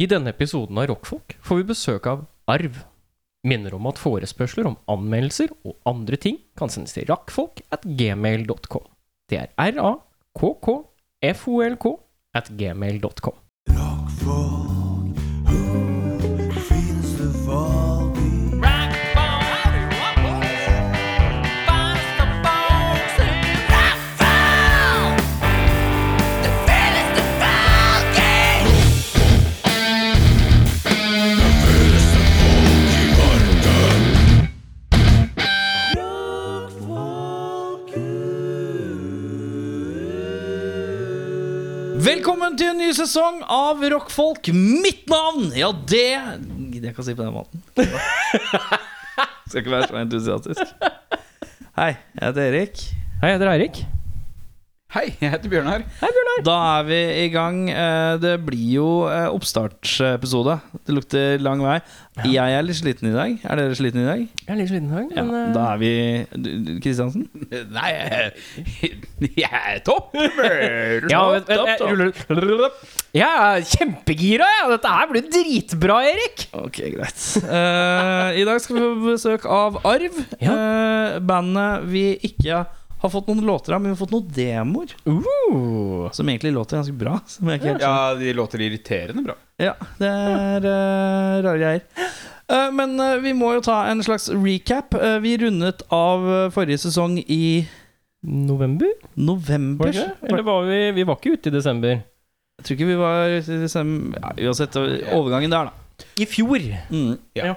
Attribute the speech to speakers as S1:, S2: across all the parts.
S1: I denne episoden av Rockfolk får vi besøk av Arv. Minner om at forespørsler om anmeldelser og andre ting kan sendes til rakkfolk at gmail.com. Det er r-a-k-k-f-o-l-k at gmail.com.
S2: Velkommen til en ny sesong av Rockfolk. Mitt navn! Ja, det gidder jeg ikke å si på den måten. Skal ikke være så entusiastisk. Hei, jeg heter Erik.
S1: Hei, jeg heter Eirik.
S3: Hei, jeg heter Bjørnar.
S2: Da er vi i gang. Eh, Det blir jo eh, oppstartsepisode. Det lukter lang vei. Jeg er litt sliten i dag. Er dere sliten i dag?
S1: Jeg er litt sliten i dag, men eh,
S2: Da er vi du- du- Kristiansen?
S3: Nei, jeg- jeg er topp humør.
S1: eh, ja, eh, vent, vent, jeg, ruller- ruller opp. jeg er kjempegira, jeg. Dette her blir dritbra, Erik.
S2: Ok, greit. Eh, I dag skal vi få besøk av Arv. Eh, bandet vi ikke har fått noen låter av, men vi har fått noen demoer.
S1: Uh.
S2: Som egentlig låter ganske bra. Som jeg ikke helt
S3: Ja, de låter irriterende bra.
S2: Ja, det er eh, rare greier. Eh, men eh, vi må jo ta en slags recap. Eh, vi rundet av eh, forrige sesong i
S1: November,
S2: november.
S1: var det ikke? Eller var vi Vi var ikke ute i desember.
S2: Jeg tror ikke vi var i desem- ja, Uansett, eh, overgangen der, da.
S1: I fjor.
S2: Mm.
S3: Ja.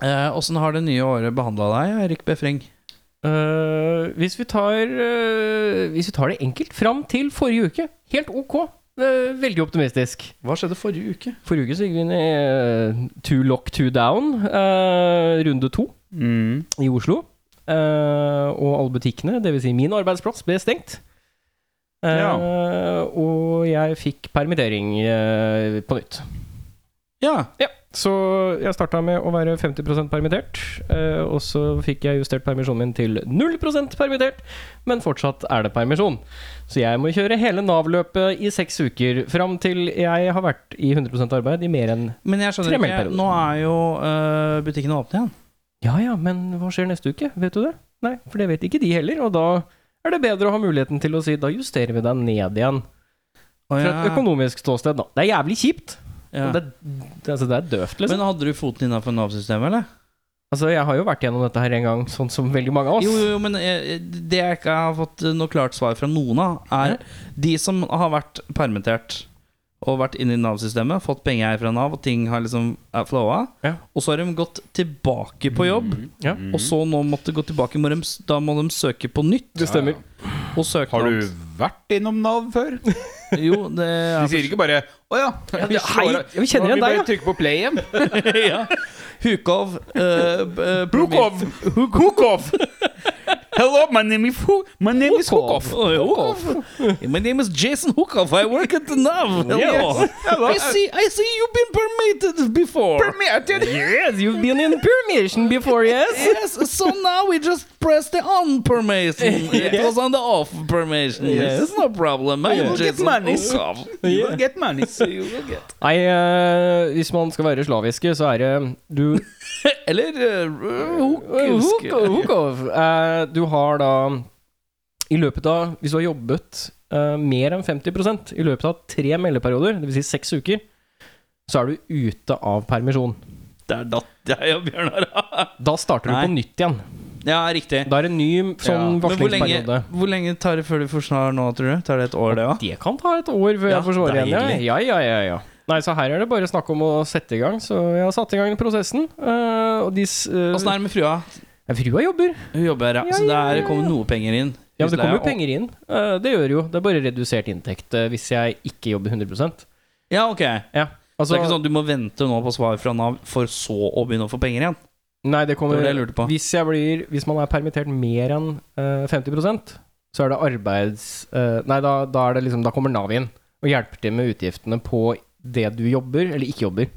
S2: Eh, Åssen har det nye året behandla deg, Erik Befreng?
S1: Eh, hvis, vi tar, eh, hvis vi tar det enkelt fram til forrige uke, helt ok. Eh, veldig optimistisk.
S2: Hva skjedde forrige uke?
S1: Forrige uke så gikk vi inn i eh, two lock, two down, eh, runde to i Oslo. Eh, og alle butikkene, dvs. Si min arbeidsplass, ble stengt. Eh, Og jeg fikk permittering eh, på nytt.
S2: Ja.
S1: Ja, så jeg starta med å være 50 permittert. eh, og så fikk jeg justert permisjonen min til 0 permittert, men fortsatt er det permisjon. Så jeg må kjøre hele Nav-løpet i seks uker, fram til jeg har vært i 100 arbeid i mer enn
S2: Men jeg skjønner ikke.
S1: Tremelperioden.
S2: Nå er jo eh, butikkene åpne igjen.
S1: Ja ja, men hva skjer neste uke? Vet du det? Nei, for det vet ikke de heller. Og da er det bedre å ha muligheten til å si da justerer vi deg ned igjen.
S2: Og
S1: Fra et
S2: jeg-
S1: økonomisk ståsted, da. Det er jævlig kjipt.
S2: ja.
S1: Og Det, det, altså, det er døvt, liksom.
S2: Men hadde du foten innafor Nav-systemet, eller?
S1: altså, jeg har jo vært gjennom dette her en gang, sånn som veldig mange av oss.
S2: Jo, jo, jo, men eh, det jeg ikke har fått eh, noe klart svar fra noen av, er de som har vært permittert og vært inne i Nav-systemet, fått penger fra Nav, og ting har liksom er flowa,
S1: Ja. Mm.
S2: og så har de gått tilbake på jobb,
S3: Mm.
S1: Ja.
S2: og så nå måtte gå tilbake, må de, s- da må de søke på nytt.
S1: Det stemmer.
S2: Og søknad.
S3: Har du vært innom Nav før?
S2: Jo, det
S3: De
S2: er
S3: sier ikke bare 'Å ja, vi,
S1: ja, hei,
S3: slår av-
S1: vi kjenner
S3: Nå,
S1: igjen deg, ja.»
S3: bare trykker på play igjen.
S2: ja. Hukov. eh, b- eh,
S3: Hukov! Hukov! Hello, my name is, Hu my name is
S2: Hukov.
S3: Hukov.
S2: Oh, Hukov. My name is Jason Hukov. I work at the Nav. Hello.
S3: Yes. Hello.
S2: I see. I see you've been permitted before.
S3: Permitted.
S1: Yes, you've been in permission before, yes?
S2: yes. So now we just press the on permission. It was on the off permission. Yes. It's no problem. I
S3: You
S2: am
S3: will get
S2: Jason
S3: money.
S2: Hukov.
S3: You will get money.
S1: Nei, eh, hvis man skal være slaviske, så er det Du
S2: Eller uh, Hukov.
S1: Hukov, Hukov. Eh, du har da I løpet av Hvis du har jobbet eh, mer enn 50 i løpet av tre meldeperioder, dvs. Si seks uker, så er du ute av permisjon.
S2: Der datt jeg og Bjørnar av.
S1: Da starter
S2: Nei.
S1: du på nytt igjen.
S2: Ja, riktig.
S1: Da er det en ny sånn
S3: Ja.
S2: Men hvor lenge,
S1: varslingsperiode.
S2: hvor lenge tar det før du får snar nå, tror du? Tar det et år, det òg?
S1: Det kan ta et år før
S2: Ja,
S1: jeg får svar igjen.
S2: deilig.
S1: Ja, ja, ja, ja. Nei, så her er det bare snakk om å sette i gang. Så jeg har satt i gang prosessen. eh, og de s- eh,
S2: Åssen er det med frua?
S1: Ja, Frua jobber.
S2: Hun jobber her, ja. Så
S1: Ja, ja,
S2: der
S1: ja,
S2: kommer noe penger inn.
S1: Ja, men det kommer jo
S2: Husleia, og-
S1: penger inn. Eh, det gjør jo. Det er bare redusert inntekt eh, hvis jeg ikke jobber 100
S2: Ja, ok.
S1: Ja.
S2: Så
S1: Altså,
S2: det er ikke sånn at du må vente nå på svar fra Nav for så å begynne å få penger igjen? sånn-
S1: Nei, det kommer
S2: Det var det jeg lurte på.
S1: Hvis, jeg blir, hvis man er permittert mer enn eh, 50 så er det arbeids... eh, nei, da, da, er det liksom, da kommer Nav inn og hjelper til med utgiftene på det du jobber, eller ikke jobber.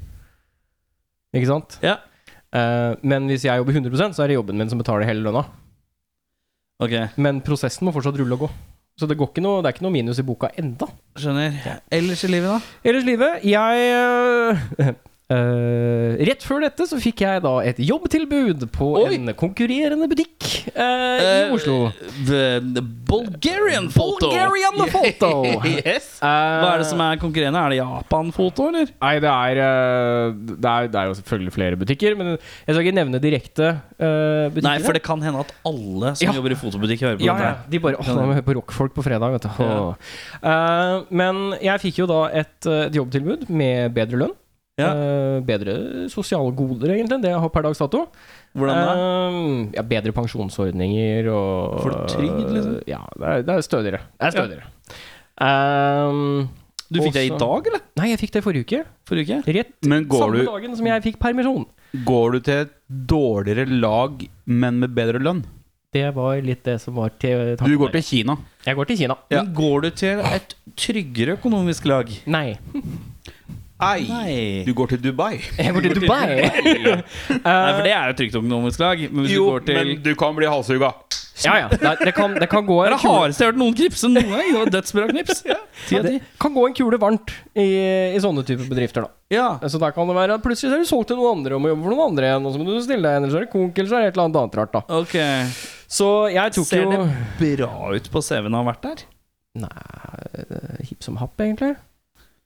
S1: Ikke sant?
S2: Ja.
S1: Eh, men hvis jeg jobber 100 så er det jobben min som betaler hele lønna.
S2: Ok.
S1: Men prosessen må fortsatt rulle og gå. Så det, går ikke noe, det er ikke noe minus i boka enda.
S2: Skjønner. Ellers i livet, da?
S1: Ellers livet Jeg øh, øh, Rett før dette så fikk jeg da et jobbtilbud på
S2: Oi!
S1: en konkurrerende butikk øh, i
S2: Eh,
S1: Oslo.
S2: The, the Bulgarian photo.
S1: Bulgarian photo.
S2: yes. Hva er det som er konkurrerende? Er det Japan-foto, eller?
S1: Eh, Nei, det er, øh, det, er, det er jo selvfølgelig flere butikker, men jeg skal ikke nevne direkte øh, butikker.
S2: Nei, for det kan hende at alle som
S1: Ja.
S2: jobber i fotobutikk, hører på
S1: ja, ja.
S2: dette. her.
S1: De bare Åh, nå må vi høre på rockfolk på fredag, vet du. Åh. Eh, men jeg fikk jo da et, eh, et jobbtilbud med bedre lønn.
S2: Ja.
S1: Eh, bedre sosiale goder, egentlig, enn det jeg har per dags dato.
S2: Hvordan da?
S1: Eh, ja, bedre pensjonsordninger og
S2: Får du trygd, liksom?
S1: Ja, det er, det er stødigere. Det er stødigere. Eh,
S2: Du fikk det i
S1: også-
S2: dag, eller?
S1: Nei, jeg fikk det forrige uke.
S2: Forrige uke?
S1: Rett
S3: Men går
S1: samme
S3: du,
S1: dagen som jeg fikk permisjon.
S3: går du til et dårligere lag, men med bedre lønn?
S1: Det var litt det som var til
S3: Du går til Kina.
S1: Jeg går til Kina.
S3: Ja.
S2: Men går du til et tryggere økonomisk lag?
S1: Nei.
S3: Nei.
S2: Nei.
S3: Du går til Dubai.
S1: Jeg går til Dubai.
S2: Nei, for det er jo et trygt økonomisk lag. Men hvis
S3: Jo,
S2: du går til
S3: men du kan bli halshugga.
S1: Eh, Ja, ja. Det, det, kan, det kan gå
S2: Det er
S1: en
S2: det
S1: kule,
S2: hardeste jeg har hørt noen knipse noen gang. Det var dødsbra knips. Ti av ti.
S1: det kan gå en kule varmt i, i sånne type bedrifter, da.
S2: Ja.
S1: Så da kan det være at plutselig så er du solgt til noen andre og må jobbe for noen andre igjen, og så må du stille deg igjen, eller så er det konk, eller så er det et eller annet annet rart, da.
S2: Ok.
S1: Så jeg tok
S2: Ser
S1: jo
S2: det bra ut på CV-en å ha vært der?
S1: Nei, det er hipp som happ, egentlig.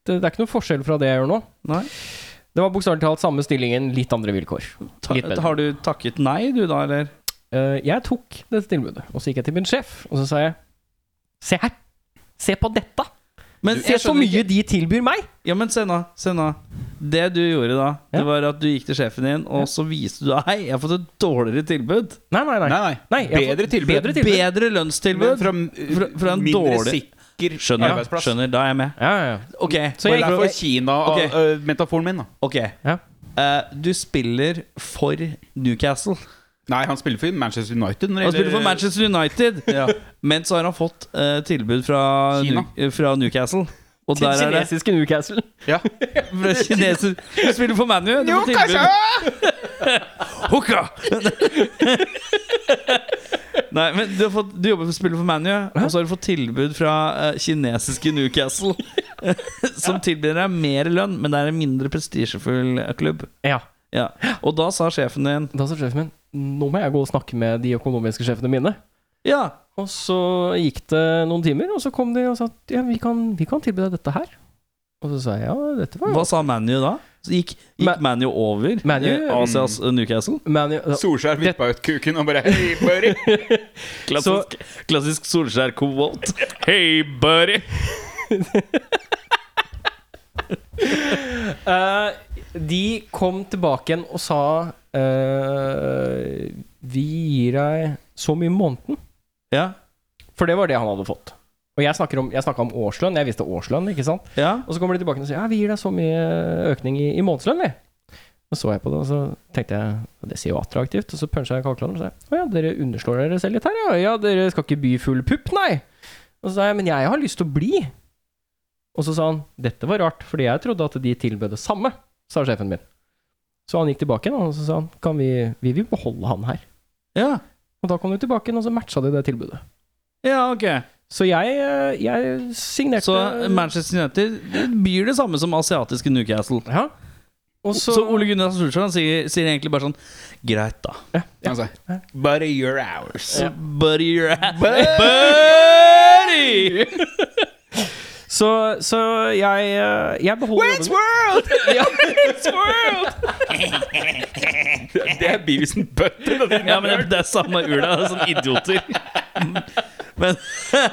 S1: Det, det er ikke noe forskjell fra det jeg gjør nå.
S2: Nei.
S1: Det var bokstavelig talt samme stillingen, litt andre vilkår.
S2: Ta,
S1: Litt bedre.
S2: har du takket nei, du da, eller?
S1: Eh, jeg tok dette tilbudet, og så gikk jeg til min sjef, og så sa jeg Se her! Se på dette!
S2: Men
S1: Se
S2: jeg
S1: så
S2: skjønner
S1: mye de tilbyr meg!
S2: Ja, men se nå, se nå. Det du gjorde da, det
S1: Ja.
S2: var at du gikk til sjefen din, og så viste du Hei, jeg har fått et dårligere tilbud.
S1: Nei, nei, nei.
S3: Nei, nei.
S1: Nei, jeg får-
S3: bedre tilbud.
S1: bedre tilbud.
S2: Bedre lønnstilbud.
S3: Fra,
S2: Fra, fra en
S3: mindre
S2: dårlig
S3: sikker
S2: Skjønner,
S3: arbeidsplass.
S2: skjønner, da er jeg med.
S1: Ja, ja, ja. Så
S2: Ok,
S1: jeg-
S3: Det er
S1: prøver-
S3: for Kina-metaforen eh, min, da.
S2: ok.
S1: Ja.
S2: Eh, du spiller for Newcastle.
S3: Nei, han spiller for Manchester United. når det
S2: Han spiller
S3: gjelder-
S2: for Manchester United, men så har han fått eh, tilbud fra,
S3: Kina.
S2: Nu- fra Newcastle. Og
S1: Til
S2: der er det
S1: kinesiske Newcastle.
S3: Ja.
S2: fra kineser. Du spiller for ManU. du får tilbud. Hooka! Nei, men du, har fått, du jobber for å spille for ManU, og så har du fått tilbud fra eh, kinesiske Newcastle, som tilbyr deg mer lønn, men det er en mindre prestisjefull eh, klubb.
S1: Ja.
S2: Ja. Og da sa sjefen din
S1: Da sa sjefen min nå må jeg gå og snakke med de økonomiske sjefene mine.
S2: Ja,
S1: Og så gikk det noen timer, og så kom de og sa at ja, vi kan, vi kan tilby deg dette her. Og så sa jeg ja, dette var
S2: hva sa ManU da? Så gikk gikk
S1: Ma-
S2: ManU over
S1: Man U,
S2: eh, Asias eh, Newcastle?
S1: Men jeg-
S3: Solskjær vippa ut kuken og bare Hei, buddy!
S2: Klassisk, klassisk Solskjær-quote. Hey, buddy!
S1: Eh, de kom tilbake igjen og sa eh, Vi gir deg så mye i måneden.
S2: Ja,
S1: For det var det han hadde fått. Og jeg snakker om- jeg snakka om, årslønn. Jeg visste årslønn, ikke sant?
S2: ja.
S1: Og så kommer de tilbake og sier ja, vi gir deg så mye økning i, i månedslønn, vi. Og så jeg på det, og så tenkte jeg det ser jo attraktivt. Og så punchet jeg kalkulatoren og sa å ja, dere underslår dere selv litt her, ja. ja dere skal ikke by full pupp, nei. Og så sa jeg men jeg har lyst til å bli. Og så sa han dette var rart, fordi jeg trodde at de tilbød det samme, sa sjefen min. Så han gikk tilbake igjen, og så sa han kan vi, vi vil beholde han her.
S2: ja.
S1: Og da kom du tilbake igjen, og så matcha de det tilbudet.
S2: Ja, ok.
S1: Så jeg, eh, jeg signerte
S2: Så Manchester United byr det samme som asiatiske Newcastle.
S1: Ja. Og
S2: Så, Ole Gunnar Solskjær han sier, sier egentlig bare sånn Greit, da.
S3: Han sa Buddy, you're ours.
S2: Så Buddy, you're at
S3: Buddy!
S1: Så, så jeg, eh, jeg beholder
S3: It's world!
S1: Ja.
S3: Det er Beavisen Butter. da.
S2: Ja, men det, det er samme ula. det er Sånne idioter. Men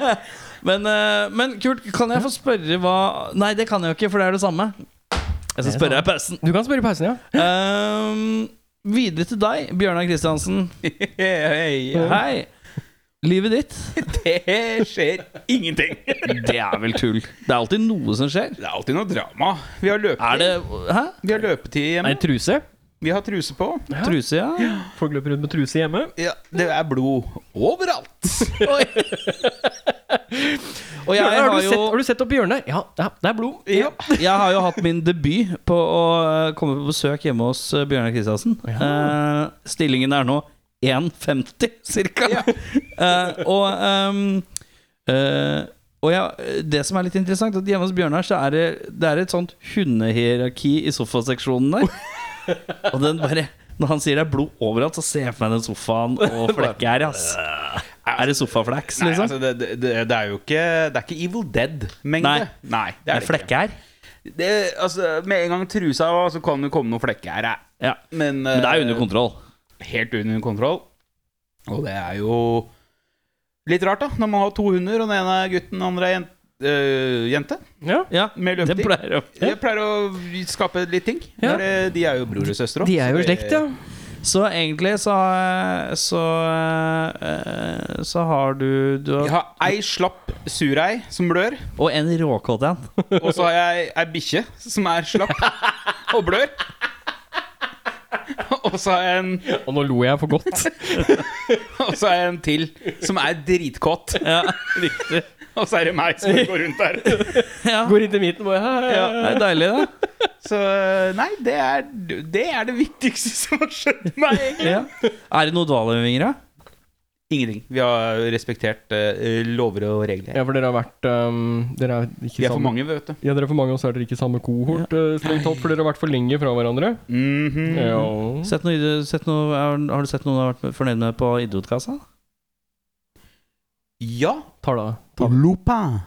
S2: men, eh, men kult, kan jeg få spørre hva Nei, det kan jeg jo ikke, for det er det samme. Jeg skal
S1: Det er
S2: spørre deg i pausen.
S1: Du kan spørre i pausen, ja.
S2: Ehm, videre til deg, Bjørnar Kristiansen. Hei. Livet ditt,
S3: Det skjer ingenting.
S2: det er vel tull? Det er alltid noe som skjer.
S3: Det er alltid noe drama. Vi har
S2: Er
S3: løpetid,
S2: det Hæ?
S3: Vi har løpetid hjemme.
S1: truse?
S3: Vi har truse på.
S2: Truse, ja.
S1: Folk løper rundt med truse hjemme.
S3: Ja, det er blod overalt.
S2: Oi. Og jeg
S1: har,
S2: har
S1: du sett,
S2: jo
S1: har du sett opp i hjørnet? Ja, ja, det er blod.
S3: Ja.
S2: jeg har jo hatt min debut på å eh, komme på besøk hjemme hos eh, Bjørnar Kristiansen. Eh, stillingen er nå 1,50 cirka. Eh, og ehm, Eh, og ja, det som er litt interessant, er at hjemme hos Bjørnar så er det, det er et sånt hundehierarki i sofaseksjonen der. og den bare Når han sier det er blod overalt, så ser jeg for meg den sofaen og flekket her, ass. Er det sofafleks,
S3: Nei,
S2: liksom?
S3: altså, det, det, det- det er jo ikke Det er ikke Evil Dead-mengde.
S2: Nei.
S3: det
S2: det er
S3: er det ikke.
S2: flekke her.
S3: Det, altså, med en gang trusa var, så kan det komme noen flekker her. ja.
S2: Ja.
S3: Men,
S2: Men det er
S3: eh,
S2: under kontroll.
S3: helt under kontroll. Og det er jo litt rart, da, når man har to hunder, og den ene er gutten, den andre er jen øh, jente.
S1: Ja.
S2: Ja,
S3: Med
S2: det
S3: løpetid.
S2: pleier å
S3: Jeg pleier å skape litt ting.
S1: Ja.
S3: for det- De er jo bror og søster også,
S1: De er jo i
S3: så det-
S1: slekt, ja.
S2: Så egentlig så Så, eh, så har du, du
S3: Jeg
S2: har,
S3: eh, har ei slapp surei som blør,
S2: Og en råkåt en.
S3: og så har jeg ei bikkje som er slapp og blør. Og så har jeg en,
S1: Og nå lo jeg for godt.
S3: og så har jeg en til som er dritkåt.
S2: Ja, riktig.
S3: Og så er det meg som går rundt der.
S2: Ja.
S1: Går inn til midten bare «Hæ, hæ, hæ».
S2: Ja, det er deilig, det.
S3: Så nei, det er det, er det viktigste som har skjedd meg, egentlig.
S2: Ja. Er det noen dvalevinger, da?
S3: Ingenting. Vi har respektert eh, lover og regler.
S1: Ja, for dere har vært um, Dere er ikke
S3: Vi er for
S1: sammen.
S3: mange, vet du.
S1: Ja, dere er for mange, og så er dere ikke samme kohort, eh, strengt tatt, for dere har vært for lenge fra hverandre.
S2: Mm.
S3: Mhm.
S1: Ja.
S2: Sett noe, sett noe, har, har du sett noen du har vært fornøyd med på idrettskassa?
S3: Ja.
S1: Tar da
S3: Lupin.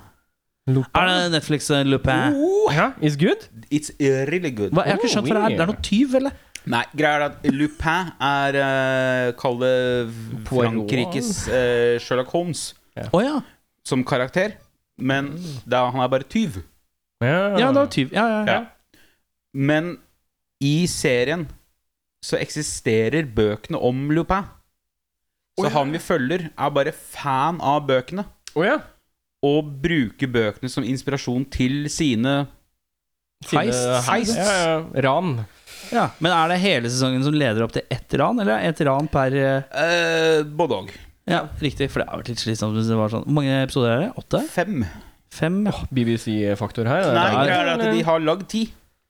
S1: Lopa.
S2: Er det Netflix eh, Lupin?
S3: Oh,
S1: Ja, is good?
S3: it's really good.
S2: Hva, jeg har ikke skjønt hva det er. Det er
S3: oh,
S2: noe tyv, eller?
S3: Nei, greia er at Lupin er uh, Kall det
S1: Poirot.
S3: Frankrikes eh, Sherlock Holmes
S2: Å ja.
S3: som karakter. Men da, han er bare tyv.
S2: Ja, det var tyv. Ja, ja, ja.
S3: Ja. Men i serien så eksisterer bøkene om Lupin.
S1: Å,
S3: Så
S1: ja.
S3: han vi følger, er bare fan av bøkene.
S1: Å ja.
S3: Og bruker bøkene som inspirasjon til sine
S1: Sine-
S2: Heist.
S3: Heist.
S1: Ja, ja. Ran.
S2: ja. Men er det hele sesongen som leder opp til ett ran, eller ett ran per eh,
S3: eh, Både òg.
S2: Ja, riktig. For det har vært litt slitsomt hvis det var sånn. Hvor mange episoder er det? Åtte?
S3: Fem.
S2: Fem? Ja.
S1: BBC-faktor her.
S3: Nei,
S2: det er-
S3: greia er at de har lagd ti.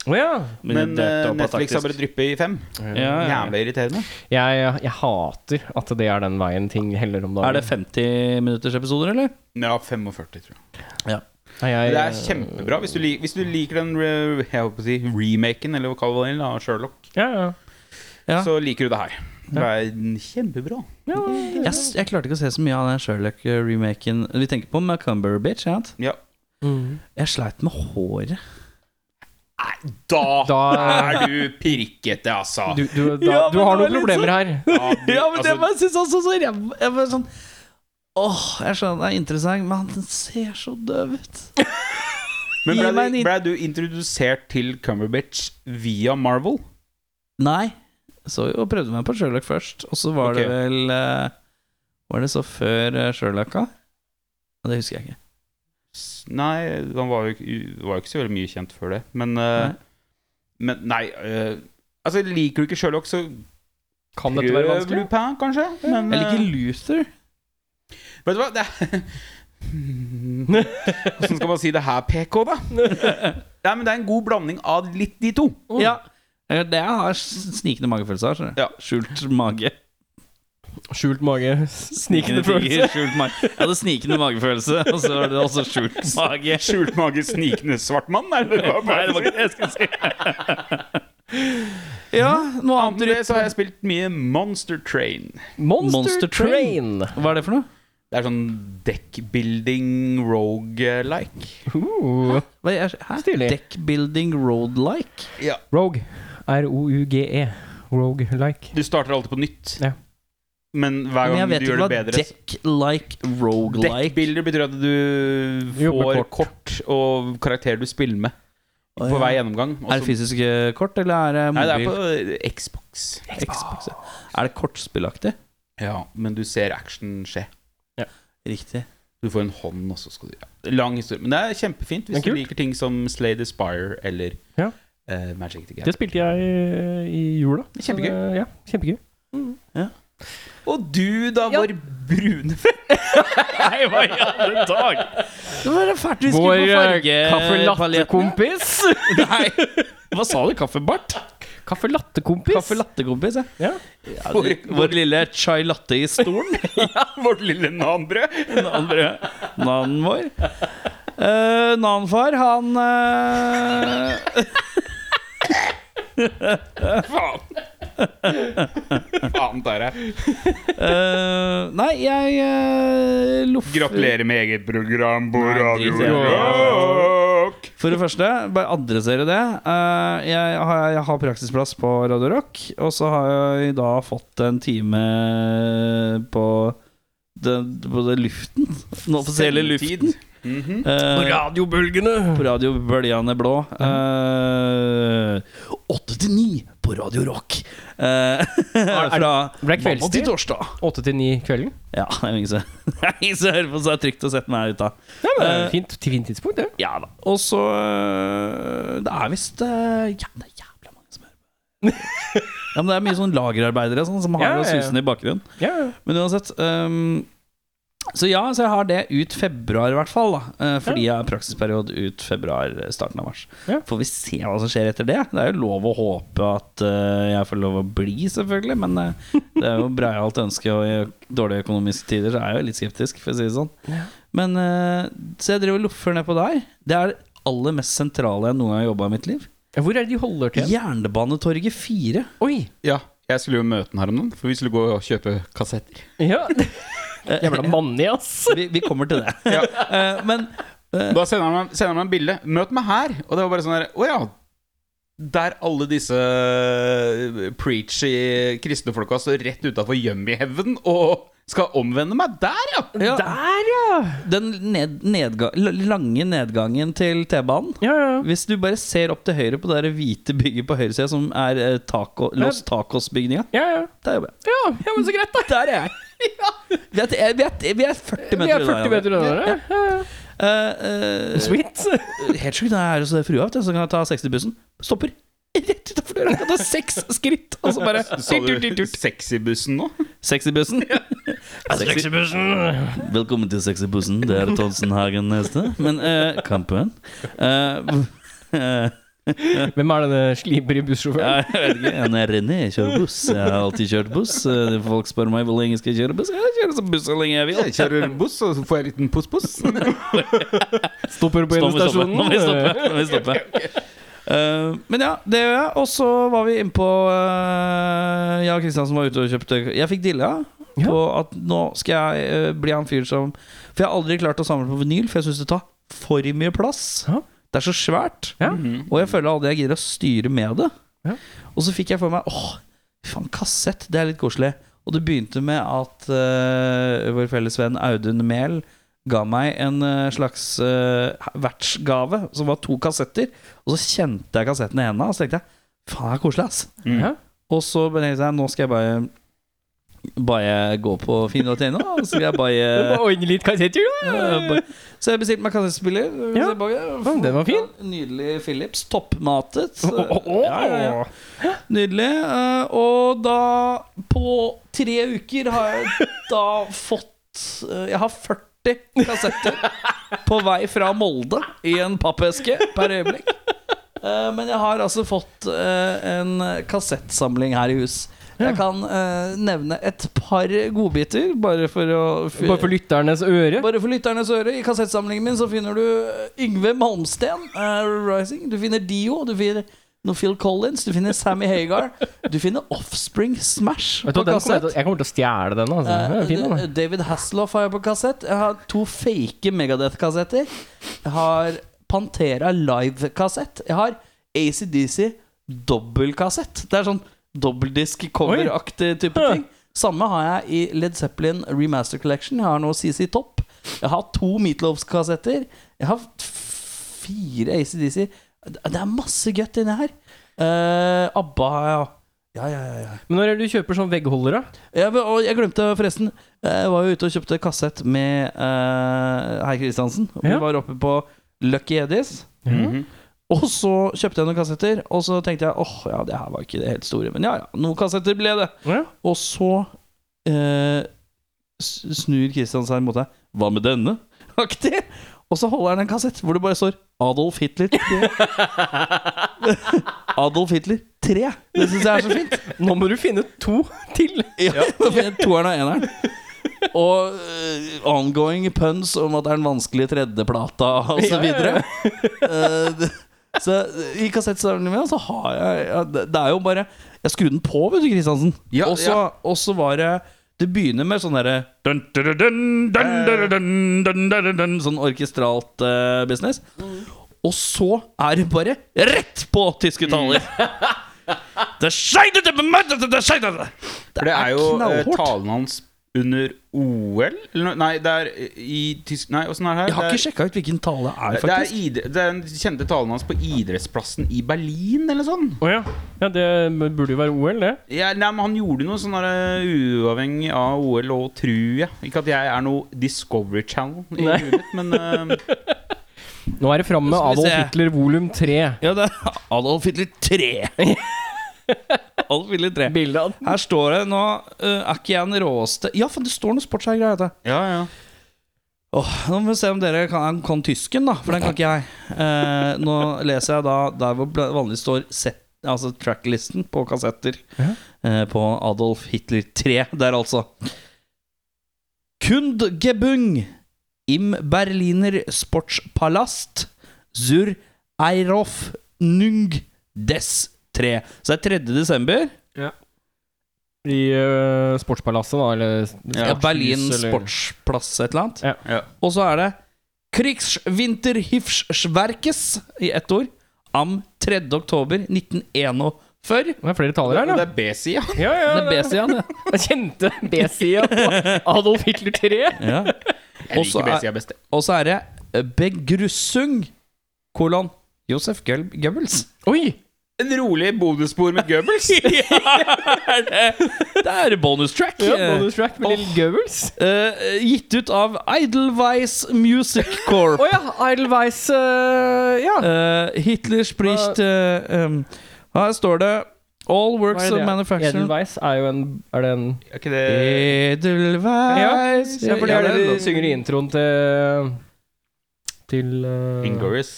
S1: Å ja.
S3: Men eh, Netflix har bare dryppet i fem.
S2: Ja, ja.
S3: Jævlig irriterende.
S1: Jeg, jeg hater at det er den veien ting heller om dagen.
S2: Er det 50 minutters episoder, eller?
S3: Ja, 45, tror jeg.
S1: Nei, jeg,
S2: Eh,
S3: Det er kjempebra hvis du, lik, hvis du liker den re- jeg holdt på å si, remaken eller hva kaller den, av Sherlock.
S1: Ja, ja.
S2: Ja.
S3: Så liker du det her. Det er kjempebra.
S1: ja.
S2: Jeg, s- jeg klarte ikke å se så mye av den Sherlock-remaken. Vi tenker på Macumber Bitch. Ja.
S3: Ja.
S1: Mm.
S2: Jeg sleit med håret.
S3: Nei, da,
S1: Da-
S3: er du pirkete, altså.
S1: Du, du, da,
S2: Ja, men
S1: du har
S2: det var
S1: noen
S2: litt
S1: problemer her.
S3: ja, du- altså,
S2: var jeg også så ræva. Jeg var sånn Åh, jeg skjønner det er interessant, men den ser så døv ut.
S3: men
S2: gi meg
S3: ble
S2: en
S3: du,
S2: in-
S3: ble du introdusert til Cumberbatch via Marvel?
S2: Nei. Så jo prøvde meg på Sherlock først, og så var
S3: Ok.
S2: det vel eh, Var det så før eh, Sherlock, da? Ja, Det husker jeg ikke.
S3: S- Nei, han var jo, ikke- var jo ikke så veldig mye kjent før det. Men eh,
S2: Nei.
S3: Men nei eh, Altså, liker du ikke Sherlock, så
S1: Kan dette være
S3: prøv
S1: vanskelig?
S3: Lupin, kanskje. Men,
S2: Jeg
S3: eh,
S2: liker Luther.
S3: Vet du hva, det er Hvordan skal man si det her, PK, da? Nei, men Det er en god blanding av litt de to.
S1: Mm.
S2: Ja. Eh, Det jeg har s- snikende magefølelse av. skjønner du.
S3: Ja.
S2: Skjult mage.
S1: Skjult mage, snikende følelse.
S2: tiger, Skjult mage. Jeg hadde snikende magefølelse, og så var det også skjult mage.
S3: Skjult mage, snikende svart mann? Er det hva
S2: Nei, det var ikke det jeg skulle si. Ja, noe
S3: Annet enn
S2: annet
S3: det så har jeg spilt mye Monster Train.
S1: Monster,
S2: Monster
S1: Train.
S2: Train. Hva er det for noe?
S3: Det er sånn dekkbuilding rogue-like.
S1: Uh,
S2: Hva er, hæ?
S1: Stilig.
S2: Deckbuilding road-like?
S3: Ja.
S1: Rogue. R-O-U-G-E. E. Rogue-like.
S3: Du starter alltid på nytt,
S1: Ja.
S3: men hver
S2: Men
S3: gang
S2: jeg vet
S3: du gjør
S2: ikke
S3: det
S2: hva
S3: bedre så-
S2: deck-like, rogue-like
S3: Dekkbilder betyr at du
S1: Jobber
S3: får
S1: kort.
S3: kort og karakterer du spiller med
S2: Å,
S3: på
S2: ja.
S3: hver gjennomgang. og
S2: Er det
S3: så-
S2: fysiske kort, eller er det
S3: Nei,
S2: mobil?
S3: det er på Xbox.
S2: Xbox, ja. Er det kortspillaktig?
S3: Ja, men du ser action skje.
S2: Riktig.
S3: Du får en hånd, og så skal du ja. Lang historie. Men det er kjempefint hvis
S1: Men
S3: du
S1: kult.
S3: liker ting som Slay the Spire eller
S1: Ja.
S3: eh, Magic the
S1: Det
S3: Gathering.
S1: spilte jeg eh, i jula. Så
S3: Kjempegøy.
S1: det- Ja, kjempegøy.
S3: Og du, da,
S1: Ja.
S3: vår brune venn.
S2: Nei, hva i alle dag? Det var fælt vi
S1: Vår eh,
S2: skulle på farge...
S1: kaffe latte-kompis.
S2: Nei, hva sa du? Kaffebart?
S1: Kaffe latte-kompis.
S2: Kaffe latte-kompis. jeg.
S1: ja.
S2: Ja, de- Vår lille chai latte i stolen.
S3: Vårt lille nanbrød.
S2: Nanbrød. Nanen vår. Eh, Nanfar, han eh,
S3: Faen. Faen tar jeg.
S2: eh, Nei, jeg eh, loff-
S3: Gratulerer med eget program på Radio
S2: drit i det.
S3: Rock.
S2: For det første, bare adressere det. Eh, jeg, har, jeg har praksisplass på Radio Rock, og så har jeg da fått en time på den, på den luften. Den offisielle luften.
S3: Mhm.
S1: På
S2: Eh,
S1: radiobølgene.
S2: på radio Bølgene Blå. Eh, Åtte til ni på Radio Rock. Eh, fra
S1: Ble det
S2: mandag til
S1: kveldstid?
S2: torsdag.
S1: Åtte til ni kvelden?
S2: Ja, det er jo ingen som det er ingen som hører på, så det er trygt å sette meg ut av.
S1: Ja, men
S2: Eh,
S1: fint, til fint tidspunkt, det.
S2: Ja da. Og så øh, Det er visst øh, ja, Det er jævla mange som hører på. ja, men det er mye sånn lagerarbeidere og sånn, som har
S1: Ja,
S2: det
S1: ja, ja.
S2: susende i bakgrunnen.
S1: Ja, ja.
S2: Men uansett øhm, Så ja, så jeg har det ut februar, i hvert fall. Da, eh, fordi jeg har praksisperiode ut februar, eh, starten av mars.
S1: Ja.
S2: Får vi se hva som skjer etter det. Det er jo lov å håpe at eh, jeg får lov å bli, selvfølgelig. Men eh, det er jo breialt ønske, og i dårlige økonomiske tider så er jeg jo litt skeptisk, for å si det sånn. Men eh, Så jeg driver og loffer ned på deg. Det er det aller mest sentrale jeg noen gang har jobba i mitt liv.
S1: Hvor er det de holder til?
S2: Jernbanetorget 4.
S1: Oi!
S3: Ja, jeg skulle jo møte den her om dagen, for vi skulle gå og kjøpe kassetter.
S1: Ja. Jævla mannig, ass.
S2: Vi, vi kommer til det. Eh, men
S3: Da sender han meg, sender han meg en bilde. 'Møt meg her.' Og det var bare sånn der Å ja. Der alle disse preachy kristne folka står rett utafor Yummyheaven og skal omvende meg. Der, ja!
S2: ja,
S1: Der, ja!
S2: den ned, nedga, la- lange nedgangen til T-banen
S1: Ja, ja.
S2: Hvis du bare ser opp til høyre på det der hvite bygget på høyresida, som er eh, taco, Los Tacos-bygninga
S1: Ja, ja.
S2: Der jobber jeg.
S1: ja, ja men så greit, da.
S2: Der er jeg! Vi, er, eh, vi, er, vi er 40
S1: Vi
S2: meter
S1: er 40 meter unna dere. Ja, ja.
S2: Eh, eh,
S1: Sweet.
S2: Helt sjukt, det er så frua, vet du, så kan jeg ta 60-bussen. Stopper rett utafor døra. Kan ta seks skritt, og så bare
S3: Sa du sexybussen nå?
S2: 60-bussen. 60 Velkommen til 60-bussen. Det er Tonsen Hagen neste. Men eh, kampen eh, eh,
S1: Hvem er denne slibri bussjåføren?
S2: Ja, jeg vet ikke. Han er René. Jeg kjører buss. Jeg har alltid kjørt buss. Eh, Folk spør meg hvor lenge skal jeg kjøre buss. Jeg kjører som buss så lenge jeg vil.
S3: Jeg kjører buss, og så får jeg en liten puss-puss.
S1: Stopper på
S2: Nå må vi stoppe.
S1: endestasjonen.
S2: Nå må vi stoppe. Nå må vi stoppe. Eh, men ja, det gjør jeg. Og så var vi innpå uh, Jeg og Kristiansen var ute og kjøpte Jeg fikk dilla
S1: Ja.
S2: på at nå skal jeg eh, bli han fyren som For jeg har aldri klart å samle på vinyl, for jeg syns det tar for mye plass.
S1: Ja.
S2: Det er så svært.
S1: Ja.
S3: Mhm.
S2: Og jeg føler aldri jeg gidder å styre med det.
S1: Ja.
S2: Og så fikk jeg for meg åh, faen, kassett. Det er litt koselig. Og det begynte med at eh, vår felles venn Audun Mehl ga meg en eh, slags eh, vertsgave som var to kassetter. Og så kjente jeg kassetten i hendene, og så tenkte jeg faen, det er koselig, ass.
S1: Ja.
S2: Og så tenkte jeg nå skal jeg bare bare gå på finn.no, og så skal jeg bare
S1: Bare ordne litt kassetter,
S2: Eh,
S1: da.
S2: ba- Så jeg bestilte meg kassettspiller. eh,
S1: Ja.
S2: Ja,
S1: den var fin.
S2: Nydelig Philips. Toppmatet.
S1: Å, å, å.
S2: Ja, ja, ja. Nydelig. eh, Og da, på tre uker, har jeg da fått eh, Jeg har 40 kassetter på vei fra Molde i en pappeske per øyeblikk. Eh, Men jeg har altså fått eh, en kassettsamling her i hus. Jeg kan eh, nevne et par godbiter, bare for å
S1: Bare for lytternes øre.
S2: bare for lytternes øre, i kassettsamlingen min så finner du eh, Yngve Malmsten, eh, Rising. Du finner Dio, du finner noe Phil Collins, du finner Sammy Hagar. Du finner Offspring Smash
S1: Vet du,
S2: på
S1: hva, den kommer jeg,
S2: kassett.
S1: til, jeg kommer til å stjele den. Altså. Den er
S2: Eh,
S1: fin, den.
S2: D- David Hasselhoff har jeg på kassett. Jeg har to fake Megadeth-kassetter. Jeg har Pantera Live-kassett. Jeg har ACDC dobbelkassett. Det er sånn dobbeldisk-coveraktig type
S1: Hæ.
S2: ting. Samme har jeg i Led Zeppelin Remaster Collection. Jeg har nå CC Topp. Jeg har to Meatloafs-kassetter. Jeg har f- fire ACDC. Det det er masse godt inni her. Eh, ABBA har jeg òg. Ja, ja, ja. ja.
S1: Men når er det du kjøper sånn veggholder, da?
S2: Jeg, og jeg glemte forresten Jeg var jo ute og kjøpte kassett med uh, Herr Kristiansen. Og
S1: Ja.
S2: Vi var oppe på Lucky Eddies.
S3: Mhm.
S2: Og så kjøpte jeg noen kassetter, og så tenkte jeg åh, ja, det her var ikke det helt store. Men ja, ja, noen kassetter ble det.
S1: Ja.
S2: Og så eh, s- snur Kristian seg mot deg. Hva med denne? Aktig. Og så holder han en kassett hvor det bare står Adolf Hitler. Adolf Hitler tre. Det syns jeg er så fint.
S1: Nå må du finne to til!
S2: Ja, Toeren og eneren. Og eh, ongoing puns om at det er den vanskelige tredjeplata og
S1: Ja, ja,
S2: så
S1: ja.
S2: videre. Eh, det- så eh, i kassettsamlingen min så har jeg ja, Det det er jo bare Jeg skrur den på, vet du, Kristiansen.
S3: Ja,
S2: og så
S3: ja.
S2: og så var det Det begynner med sånn derre dun, dun, dun, dun, dun, dun, dun, dun, dun, Sånn orkestralt eh, business.
S3: Mm.
S2: Og så er det bare rett på tyske taler!
S3: Mm.
S2: Det skjeidete bemøtet, det skjeidete!
S3: For det er jo eh, talen hans under OL eller noe- Nei, det er i tysk... Nei, åssen er det her?
S2: Jeg har
S3: Det er-
S2: ikke sjekka ut hvilken tale det er,
S3: Det er,
S2: faktisk.
S3: id det er den kjente talen hans på idrettsplassen i Berlin, eller sånn. noe sånt.
S1: Å ja. ja. Det burde jo være OL, det.
S3: Ja, nei, men han gjorde noe sånn der, uh, uavhengig av OL og tror jeg. Ikke at jeg er noe Discovery Channel i
S1: Nei.
S3: huet mitt, men uh,
S1: Nå er det framme med
S2: Skal vi
S1: Adolf
S2: se.
S1: Hitler volum 3.
S2: Ja, det er Adolf Hitler 3. Adolf Hitler 3.
S1: Bildet av
S2: Her står det nå eh, Er ikke jeg den råeste Ja, faen, det står noe sportsgreier her. vet du.
S3: Ja, ja.
S2: Åh, nå må vi se om dere kan, kan tysken, da. For den kan ikke jeg. Eh, nå leser jeg da der hvor bl- vanligvis står set, altså tracklisten på kassetter
S1: Ja.
S2: eh, på Adolf Hitler 3 der, altså. Kundgebung im Berliner Sportspalast zur Eirof Nung des 3. Så det er 3. desember.
S1: i eh, Sportspalasset, da, eller
S2: Ja,
S1: sportshus,
S2: Berlin
S1: eller-
S2: Sportsplass et eller annet.
S1: Ja.
S3: Ja.
S2: Og så er det Krigsvinterhifsverkes i ett ord am 3. oktober 1941.
S1: Det er flere taler her,
S3: Og
S1: da.
S3: det er B-sida.
S1: Ja, ja,
S2: Det er
S1: det-
S2: B-sida.
S1: Jeg kjente B-sida på Adolf Hitler 3.
S2: Ja.
S3: Jeg
S2: Også
S3: liker
S2: er-
S3: B-sida best. jeg.
S2: Og så er det Begrussung kolon Josef Gøl- Goebbels.
S1: Oi!
S3: En rolig bonusspor med Goebbels.
S2: Det er bonus track.
S1: Ja, bonus track med Lille Goebbels.
S2: Eh, gitt ut av Idlewies Music Corp.
S1: Å ja, Idlewies eh, Ja.
S2: Eh, Hitler spricht eh, um, Her står det All
S1: Hva
S2: works
S1: er
S2: of
S1: det?
S2: manufacturing
S1: Edelweiss er jo en Er det en
S3: Er ikke det
S2: Edelweiss
S1: Ja, for det er
S2: Ja,
S1: det
S2: det
S1: de synger i introen til Til eh,
S3: Ingoris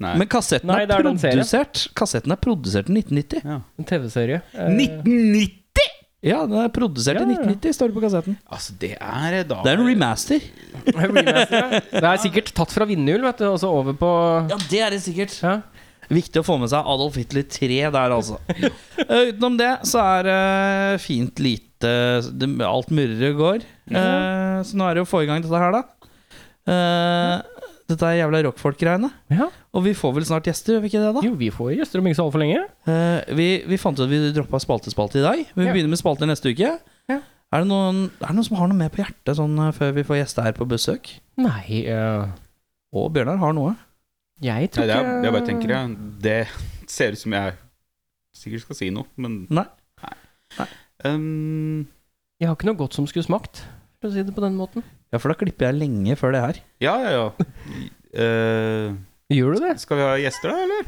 S3: Nei.
S2: Men kassetten
S1: Nei,
S2: er,
S1: det er den serien.
S2: produsert Kassetten er produsert i 1990.
S1: en TV-serie. Eh,
S3: 1990!
S2: Ja, den er produsert
S1: Ja,
S2: i
S1: ja.
S2: 1990, står det på kassetten.
S3: Altså, det er eh, da
S2: Det er en remaster.
S1: remaster, ja. Det er sikkert tatt fra Vindhjul, vet du, og så over på
S2: Ja, det er det sikkert.
S1: ja.
S2: Viktig å få med seg Adolf Hitler 3 der, altså. Eh, utenom det så er det fint lite det, Alt murrer og går. Eh, så nå er det jo å få i gang dette her, da. Eh, Dette er jævla rockfolk-greiene.
S1: Ja.
S2: Og vi får vel snart gjester, gjør vi ikke det, da?
S1: Jo, vi får gjester om ikke så altfor lenge.
S2: Eh, vi, vi fant ut at vi droppa spalte-spalte i dag. Vi
S1: Ja.
S2: begynner med spalter neste uke.
S1: Ja.
S2: Er, det noen, er det noen som har noe med på hjertet sånn, eh, før vi får gjester her på besøk?
S1: Nei, eh,
S2: Og Bjørnar har noe.
S1: jeg
S3: Nei,
S1: tror
S3: det
S1: ikke
S3: er, jeg bare tenker, ja. Det ser ut som jeg sikkert skal si noe, men
S2: Nei.
S3: Nei.
S2: Nei.
S3: Um,
S1: Jeg har ikke noe godt som skulle smakt, for å si det på den måten.
S2: Ja, for da klipper jeg lenge før det her.
S3: ja, ja, ja. Eh,
S1: Gjør du det?
S3: skal vi ha gjester, da, eller?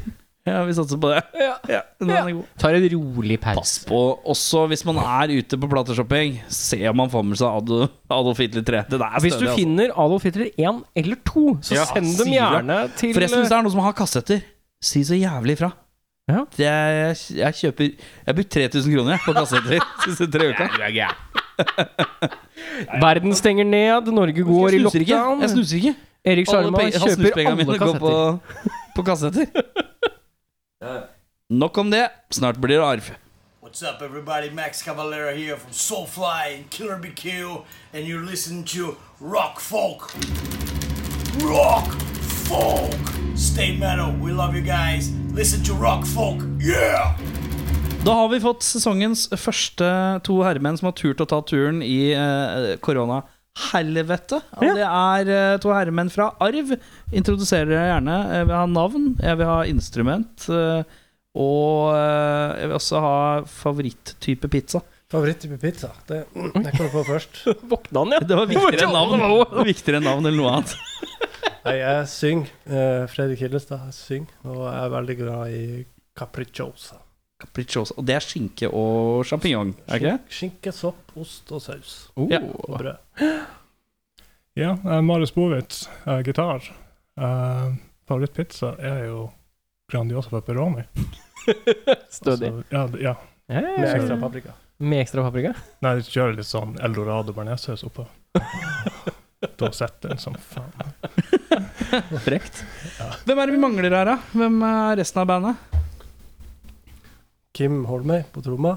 S2: Ja, vi satser på det.
S1: Ja.
S2: Ja, den
S1: Ja.
S2: er god.
S1: Tar en rolig pause.
S2: Pass på også hvis man er ute på plateshopping. Se om man får med seg Ado- Adolf Hitler 3. Det der er
S1: Hvis du
S2: stødig, altså.
S1: finner Adolf Hitler 1 eller 2, så
S3: Ja,
S1: send dem
S2: sier jeg.
S1: gjerne til
S2: Forresten, hvis det er noen som har kassetter, si så jævlig ifra.
S1: Ja.
S2: Det er, jeg kjøper Jeg bruker 3000 kroner jeg, på kassetter siste tre uka.
S3: du er gæren.
S1: Verden stenger ned, Norge går i
S2: Jeg snuser ikke.
S1: lockdown.
S2: Jeg snuser ikke.
S1: Erik
S2: Alle
S1: Sjarma
S2: pe- alle
S1: kjøper
S2: snuspengene
S1: alle
S2: mine går på,
S1: kassetter.
S2: på kassetter. Nok om det. Snart blir det arv.
S4: What's up, everybody? Max Cavalera here from Soulfly and Killer BQ, and you're listening to Rock Folk. Rock Folk! Stay metal, we love you guys. Listen to Rock Folk, yeah!
S2: Da har vi fått sesongens første to herremenn som har turt å ta turen i eh, koronahelvete. Og Det er eh, to herremenn fra Arv. Introduserer dere gjerne. Jeg vil ha navn, jeg vil ha instrument. eh, og eh, jeg vil også ha favoritttype pizza.
S5: Favoritttype pizza. Det, det kom jeg på først.
S1: Våkna han, ja.
S2: Det var viktigere enn navn, det var viktigere enn navn eller noe annet.
S5: Nei, jeg synger. eh, Fredrik Hillestad jeg synger, og jeg er veldig glad i capricciosa.
S2: Capricciosa. Og det er skinke og sjampinjong. er ikke Oh. det?
S5: Skinke, sopp, ost og saus.
S2: Ja.
S5: Og brød.
S6: Ja, eh, Marius Bovitz, eh, gitar. Eh, favorittpizza er jo Grandiosa pepperoni.
S1: Stødig.
S6: Så, ja, d- ja.
S1: Ja, ja,
S5: Med
S1: ja.
S5: ekstra paprika.
S1: Med ekstra paprika?
S6: Nei, de kjører litt sånn eldorado bearnéssaus oppå. da setter den som faen.
S1: Frekt.
S2: Hvem er det vi mangler her, da? Hvem er resten av bandet?
S5: Kim Holmøy på tromma.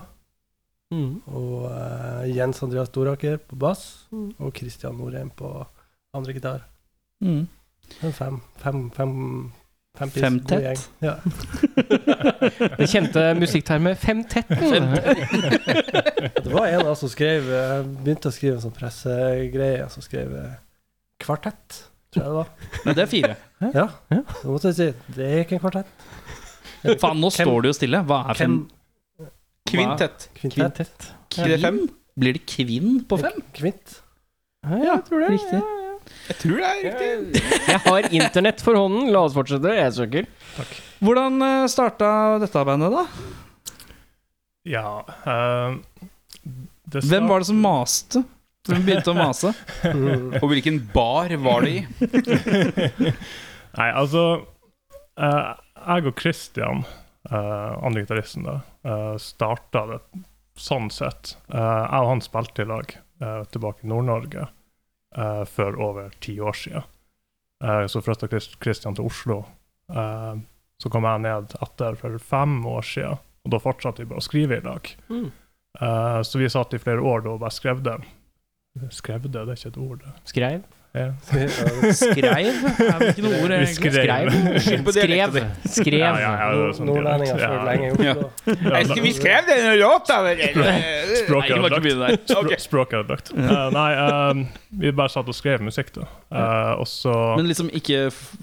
S1: Mm.
S5: Og eh, Jens Andreas Doraker på bass. Og Christian Norheim på andre gitar.
S2: Mm.
S5: En fem, fem, fem, fem piece,
S2: Fem
S5: god
S2: tett.
S5: gjeng. Ja.
S1: Det kjente musikktermet femtetten.
S5: Det var en av oss som skrev eh, begynte å skrive en sånn pressegreie, som skrev eh, kvartett, tror jeg det var.
S2: Men det er fire.
S5: Ja.
S1: Ja.
S5: Så måtte jeg si det er ikke en kvartett.
S2: Faen, nå
S5: Hvem-
S2: står det jo stille. Hva er fem?
S5: Hvem-
S3: Kvintett.
S5: Kvintett.
S3: Er det fem?
S2: Blir det kvinn på fem?
S5: Kvint.
S1: Ja, jeg tror det.
S2: Riktig.
S3: Jeg tror det er riktig.
S1: Jeg har internett for hånden. La oss fortsette. Jeg søker.
S2: Hvordan eh, starta dette bandet, da?
S6: Ja ehm, det
S2: Hvem var det som maste? Hvem begynte å mase?
S5: Mm.
S3: Og hvilken bar var det i?
S6: Nei, altså eh, Jeg og Christian, eh, andre gitaristen, da, eh, starta det sånn sett. Eh, jeg og han spilte i lag eh, tilbake i Nord-Norge eh, for over ti år siden. Eh, så flytta Christian til Oslo. Eh, så kom jeg ned etter for fem år siden, og da fortsatte vi bare å skrive i lag.
S1: Mm.
S6: Eh, så vi satt i flere år da og bare skrev det. Skrev det, det er ikke et ord, det.
S1: Skreiv.
S6: Ja.
S2: Skreiv? Er det ikke noe ord,
S6: Vi
S2: egentlig?
S1: Skreiv.
S3: Skyld på dialekten
S1: Skrev.
S3: din.
S1: Skrev.
S6: Ja, ja, ja, det er sånn
S5: Nordlendinger
S6: dialekt.
S5: før
S6: Ja.
S5: lenge i Oslo.
S6: Ja,
S3: Jeg- Vi skrev den låta! vel? Nei,
S6: Språket
S3: vi må ikke
S6: ødelagt.
S3: begynne der.
S6: Spr
S3: Ok.
S6: Språket er ødelagt. Eh, nei, eh, vi bare satt og skrev musikk, da. Eh, og så
S2: Men liksom ikke f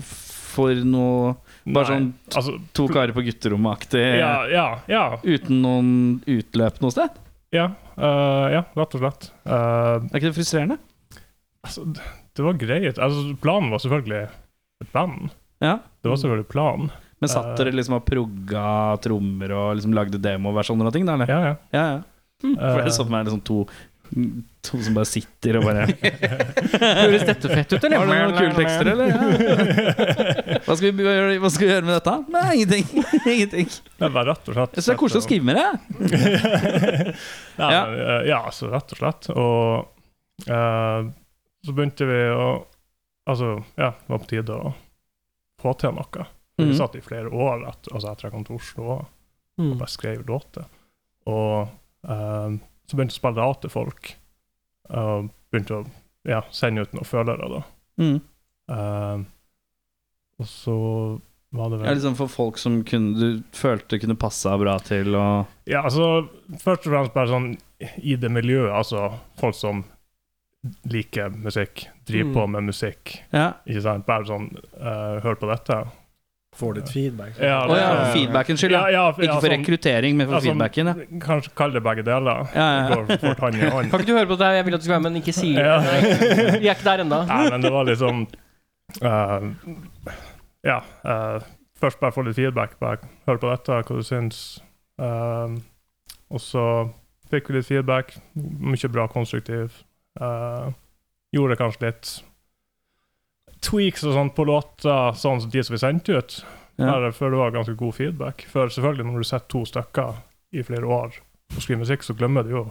S2: for noe Bare
S6: Nei,
S2: sånn
S6: altså,
S2: to karer på gutterommet-aktig?
S6: ja, ja, ja,
S2: Uten noen utløp noe sted?
S6: ja, eh, ja, rett og slett. Eh,
S2: Er ikke det frustrerende?
S6: altså, d- det var greit. Altså, planen var selvfølgelig et band.
S2: Ja.
S6: Det var selvfølgelig planen.
S2: Men satt dere liksom og progga trommer og liksom lagde demoversjoner og ting? da, eller?
S6: Ja, ja.
S2: Ja, ja. For
S6: Eh,
S2: det er sånn med liksom to To som bare sitter og bare
S1: Høres dette fett ut,
S2: Har
S1: eller?
S2: du noen kule tekster, eller? Ja. Hva, skal vi, gjøre- hva skal vi gjøre med dette? Nei, ingenting. ingenting. Jeg
S6: det var rett og slett eh,
S2: syns det er koselig å skrive med det.
S6: Nei,
S2: Ja.
S6: men, eh, ja, altså rett og slett. Og eh, så begynte vi å Altså, ja, det var på tide å få til noe. Vi
S2: Mhm.
S6: satt i flere år etter, altså etter jeg kom til Oslo og
S1: Mm.
S6: bare skrev låter. Og eh, så begynte jeg å spille det av til folk. Og begynte å ja, sende ut noen følere, da.
S2: Mm.
S6: Eh, og så var det
S2: Ja,
S6: vel
S2: liksom for folk som kunne, du følte kunne passa bra til og
S6: Ja, altså først og fremst bare sånn i det miljøet, altså folk som liker musikk, driver
S1: Mm.
S6: på med musikk,
S2: Ja.
S6: ikke sant? Bare sånn eh, hør på dette.
S5: Får litt feedback.
S6: Ja,
S2: Å
S6: det-
S2: ja,
S6: ja,
S2: for feedbacken skyld, ja.
S6: ja,
S2: Ikke for
S6: sånn-
S2: rekruttering, men for
S6: ja, sånn-
S2: feedbacken. Eh. Ja.
S6: Kanskje kall det begge deler.
S2: Ja, ja, ja.
S6: Det går fort hånd i hånd.
S1: Kan ikke du høre på det? Jeg vil at du skal være med, men ikke si det.
S6: Ja.
S1: Vi er ikke der ennå.
S6: Nei, men det var liksom eh, Ja. eh, først bare få litt feedback. Bare hør på dette, hva du syns. Eh, og så fikk vi litt feedback. Mye bra konstruktiv. Eh, gjorde kanskje litt tweaks og sånt på låter, sånn som de som vi sendte ut.
S2: Ja.
S6: Bare før det var ganske god feedback. For selvfølgelig, når du setter to stykker i flere år og skriver musikk, så glemmer du jo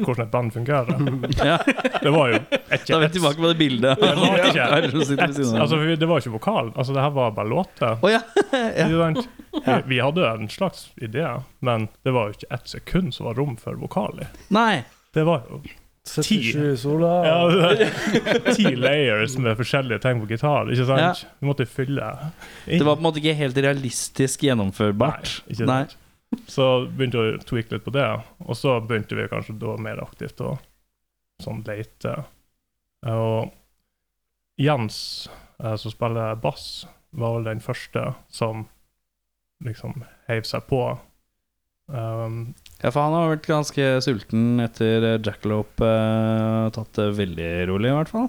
S6: hvordan et band fungerer.
S2: Ja.
S6: Det var jo et
S2: Da er vi tilbake på det bildet.
S6: Det var ikke-
S2: Ja, som sitter ved siden av.
S6: Altså, vi- det var ikke vokal. Altså, det her var bare låter.
S2: Å ja. ja.
S6: Ikke sant? Vi, vi hadde en slags idé, men det var jo ikke ett sekund som var rom for vokal i.
S2: Nei.
S6: Det var jo
S5: 77 sola.
S6: ja, det- ti layers med forskjellige ting på gitar, ikke sant? Vi måtte fylle inn.
S2: Det var på en måte ikke helt realistisk gjennomførbart.
S6: Nei, ikke sant? Så begynte vi å tweake litt på det, og så begynte vi kanskje da mer aktivt å sånn leite. Og Jens, eh, som spiller bass, var vel den første som liksom heiv seg på. Um,
S2: Ja, for han har vært ganske sulten etter eh, Jackalope. eh, Tatt det veldig rolig, i hvert fall.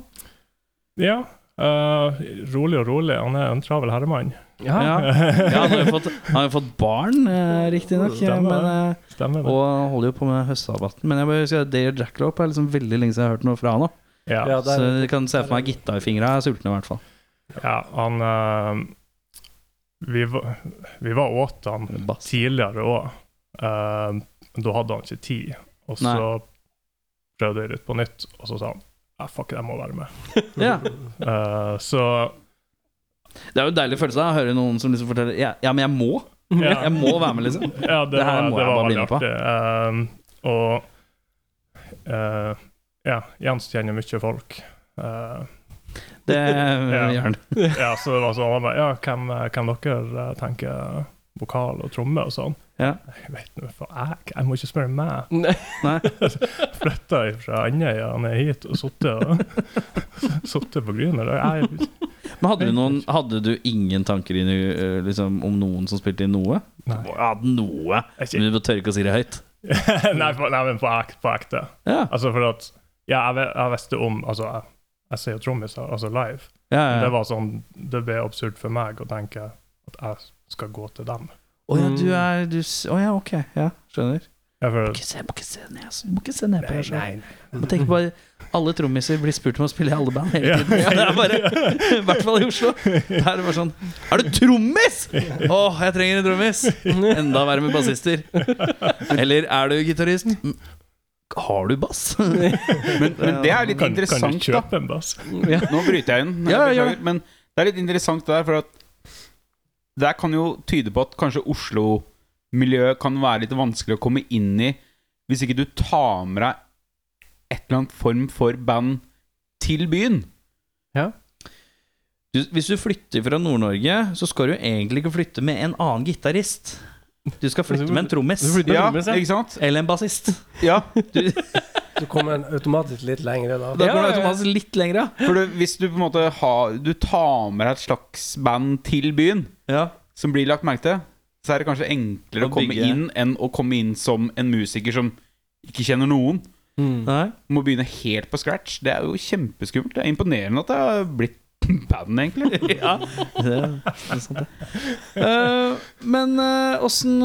S6: ja, eh, rolig og rolig. Han er en travel herremann.
S1: Ja.
S2: Ja. Ja, han har jo fått, han har jo fått barn, eh, riktignok. eh,
S6: Stemmer.
S2: men, eh,
S6: Stemmer det?
S2: Og han holder jo på med høstsabaten. Men jeg bare husker at Dale Jackalope er liksom veldig lenge siden jeg har hørt noe fra han. da.
S6: Ja.
S5: Ja,
S2: Så
S5: der,
S2: jeg kan se for meg gitta i fingra. Jeg er sulten i hvert fall.
S6: ja han eh, vi var, vi var åt han
S2: Bass.
S6: tidligere òg. da hadde han ikke tid. Og så prøvde jeg litt på nytt, og så sa han ah, fuck, jeg må være med.
S2: Ja.
S6: Eh, så
S2: Det er jo en deilig følelse å høre noen som liksom forteller ja, ja, men jeg må.
S6: Ja.
S2: Jeg må være med, liksom.
S6: Ja, det,
S2: Det her
S6: var, det
S2: må jeg
S6: var
S2: bare bli
S6: veldig
S2: med på.
S6: artig. Eh, og eh, ja, Jens kjenner mye folk. Eh,
S2: Det gjør han.
S6: ja, så det var sånn han bare, Ja, hvem, hvem dere eh, tenker vokal og tromme og sånn?
S2: Ja.
S6: Jeg vet nå, for jeg, jeg må ikke spørre meg.
S1: Nei.
S2: Nei.
S6: Flytta fra Andøya og ned hit og sittet og, sittet på Gryner. Jeg,
S2: Men hadde du, noen, hadde du ingen tanker inn, i, eh, liksom, om noen som spilte inn noe?
S6: Nei.
S2: Du hadde noe,
S6: jeg,
S2: men du tør ikke å si det høyt.
S6: nei, på, nei, men på, ek- på ekte.
S2: Ja,
S6: Altså, for at Ja, jeg, ve- jeg visste om Altså, jeg, jeg ser jo trommiser, altså live.
S2: ja,
S6: Men Det
S2: ja.
S6: var sånn, det ble absurd for meg å tenke at jeg skal gå til dem.
S2: Å ja, du er du, s- Å ja, ok. Ja, skjønner.
S6: Jeg føler,
S2: Ikke se, må ikke se ned, altså. Må ikke se ned på deg selv. Og tenk bare, alle trommiser blir spurt om å spille i alle band hele
S6: Ja.
S2: tiden. Ja, det er bare, I hvert fall i Oslo. Der er det bare sånn Er du trommis?! Å, jeg trenger en trommis! Enda verre med bassister. Eller er du gitarist? Mm, Har du bass?
S3: Men, men det er litt
S6: kan, kan du
S3: interessant, da.
S6: kjøpe en bass?
S3: Nå bryter jeg inn, jeg
S2: Ja, ja,
S3: beklager, men det er litt interessant det der, for at det her kan jo tyde på at kanskje Oslo-miljøet kan være litt vanskelig å komme inn i hvis ikke du tar med deg et eller annet form for band til byen.
S2: Du, hvis du flytter fra Nord-Norge, så skal du egentlig ikke flytte med en annen gitarist. Du skal flytte med en trommis.
S1: Du flytter med
S3: Ja,
S1: trommis, ja.
S3: ikke sant?
S2: Eller en bassist.
S3: Ja,
S5: Du kommer automatisk litt lengre da.
S2: Da
S1: Ja,
S2: går
S1: ja,
S2: det
S1: ja.
S2: automatisk litt lenger, ja.
S3: for det, hvis du på en måte har, du tar med deg et slags band til byen
S2: ja.
S3: som blir lagt merke til, så er det kanskje enklere
S2: Å
S3: å komme
S2: bygge.
S3: inn enn å komme inn som en musiker som ikke kjenner noen.
S1: Mm.
S2: Nei.
S3: må begynne helt på scratch. Det er jo kjempeskummelt. Det er imponerende at det har blitt band, egentlig.
S2: ja, det er sant, det. Eh, men åssen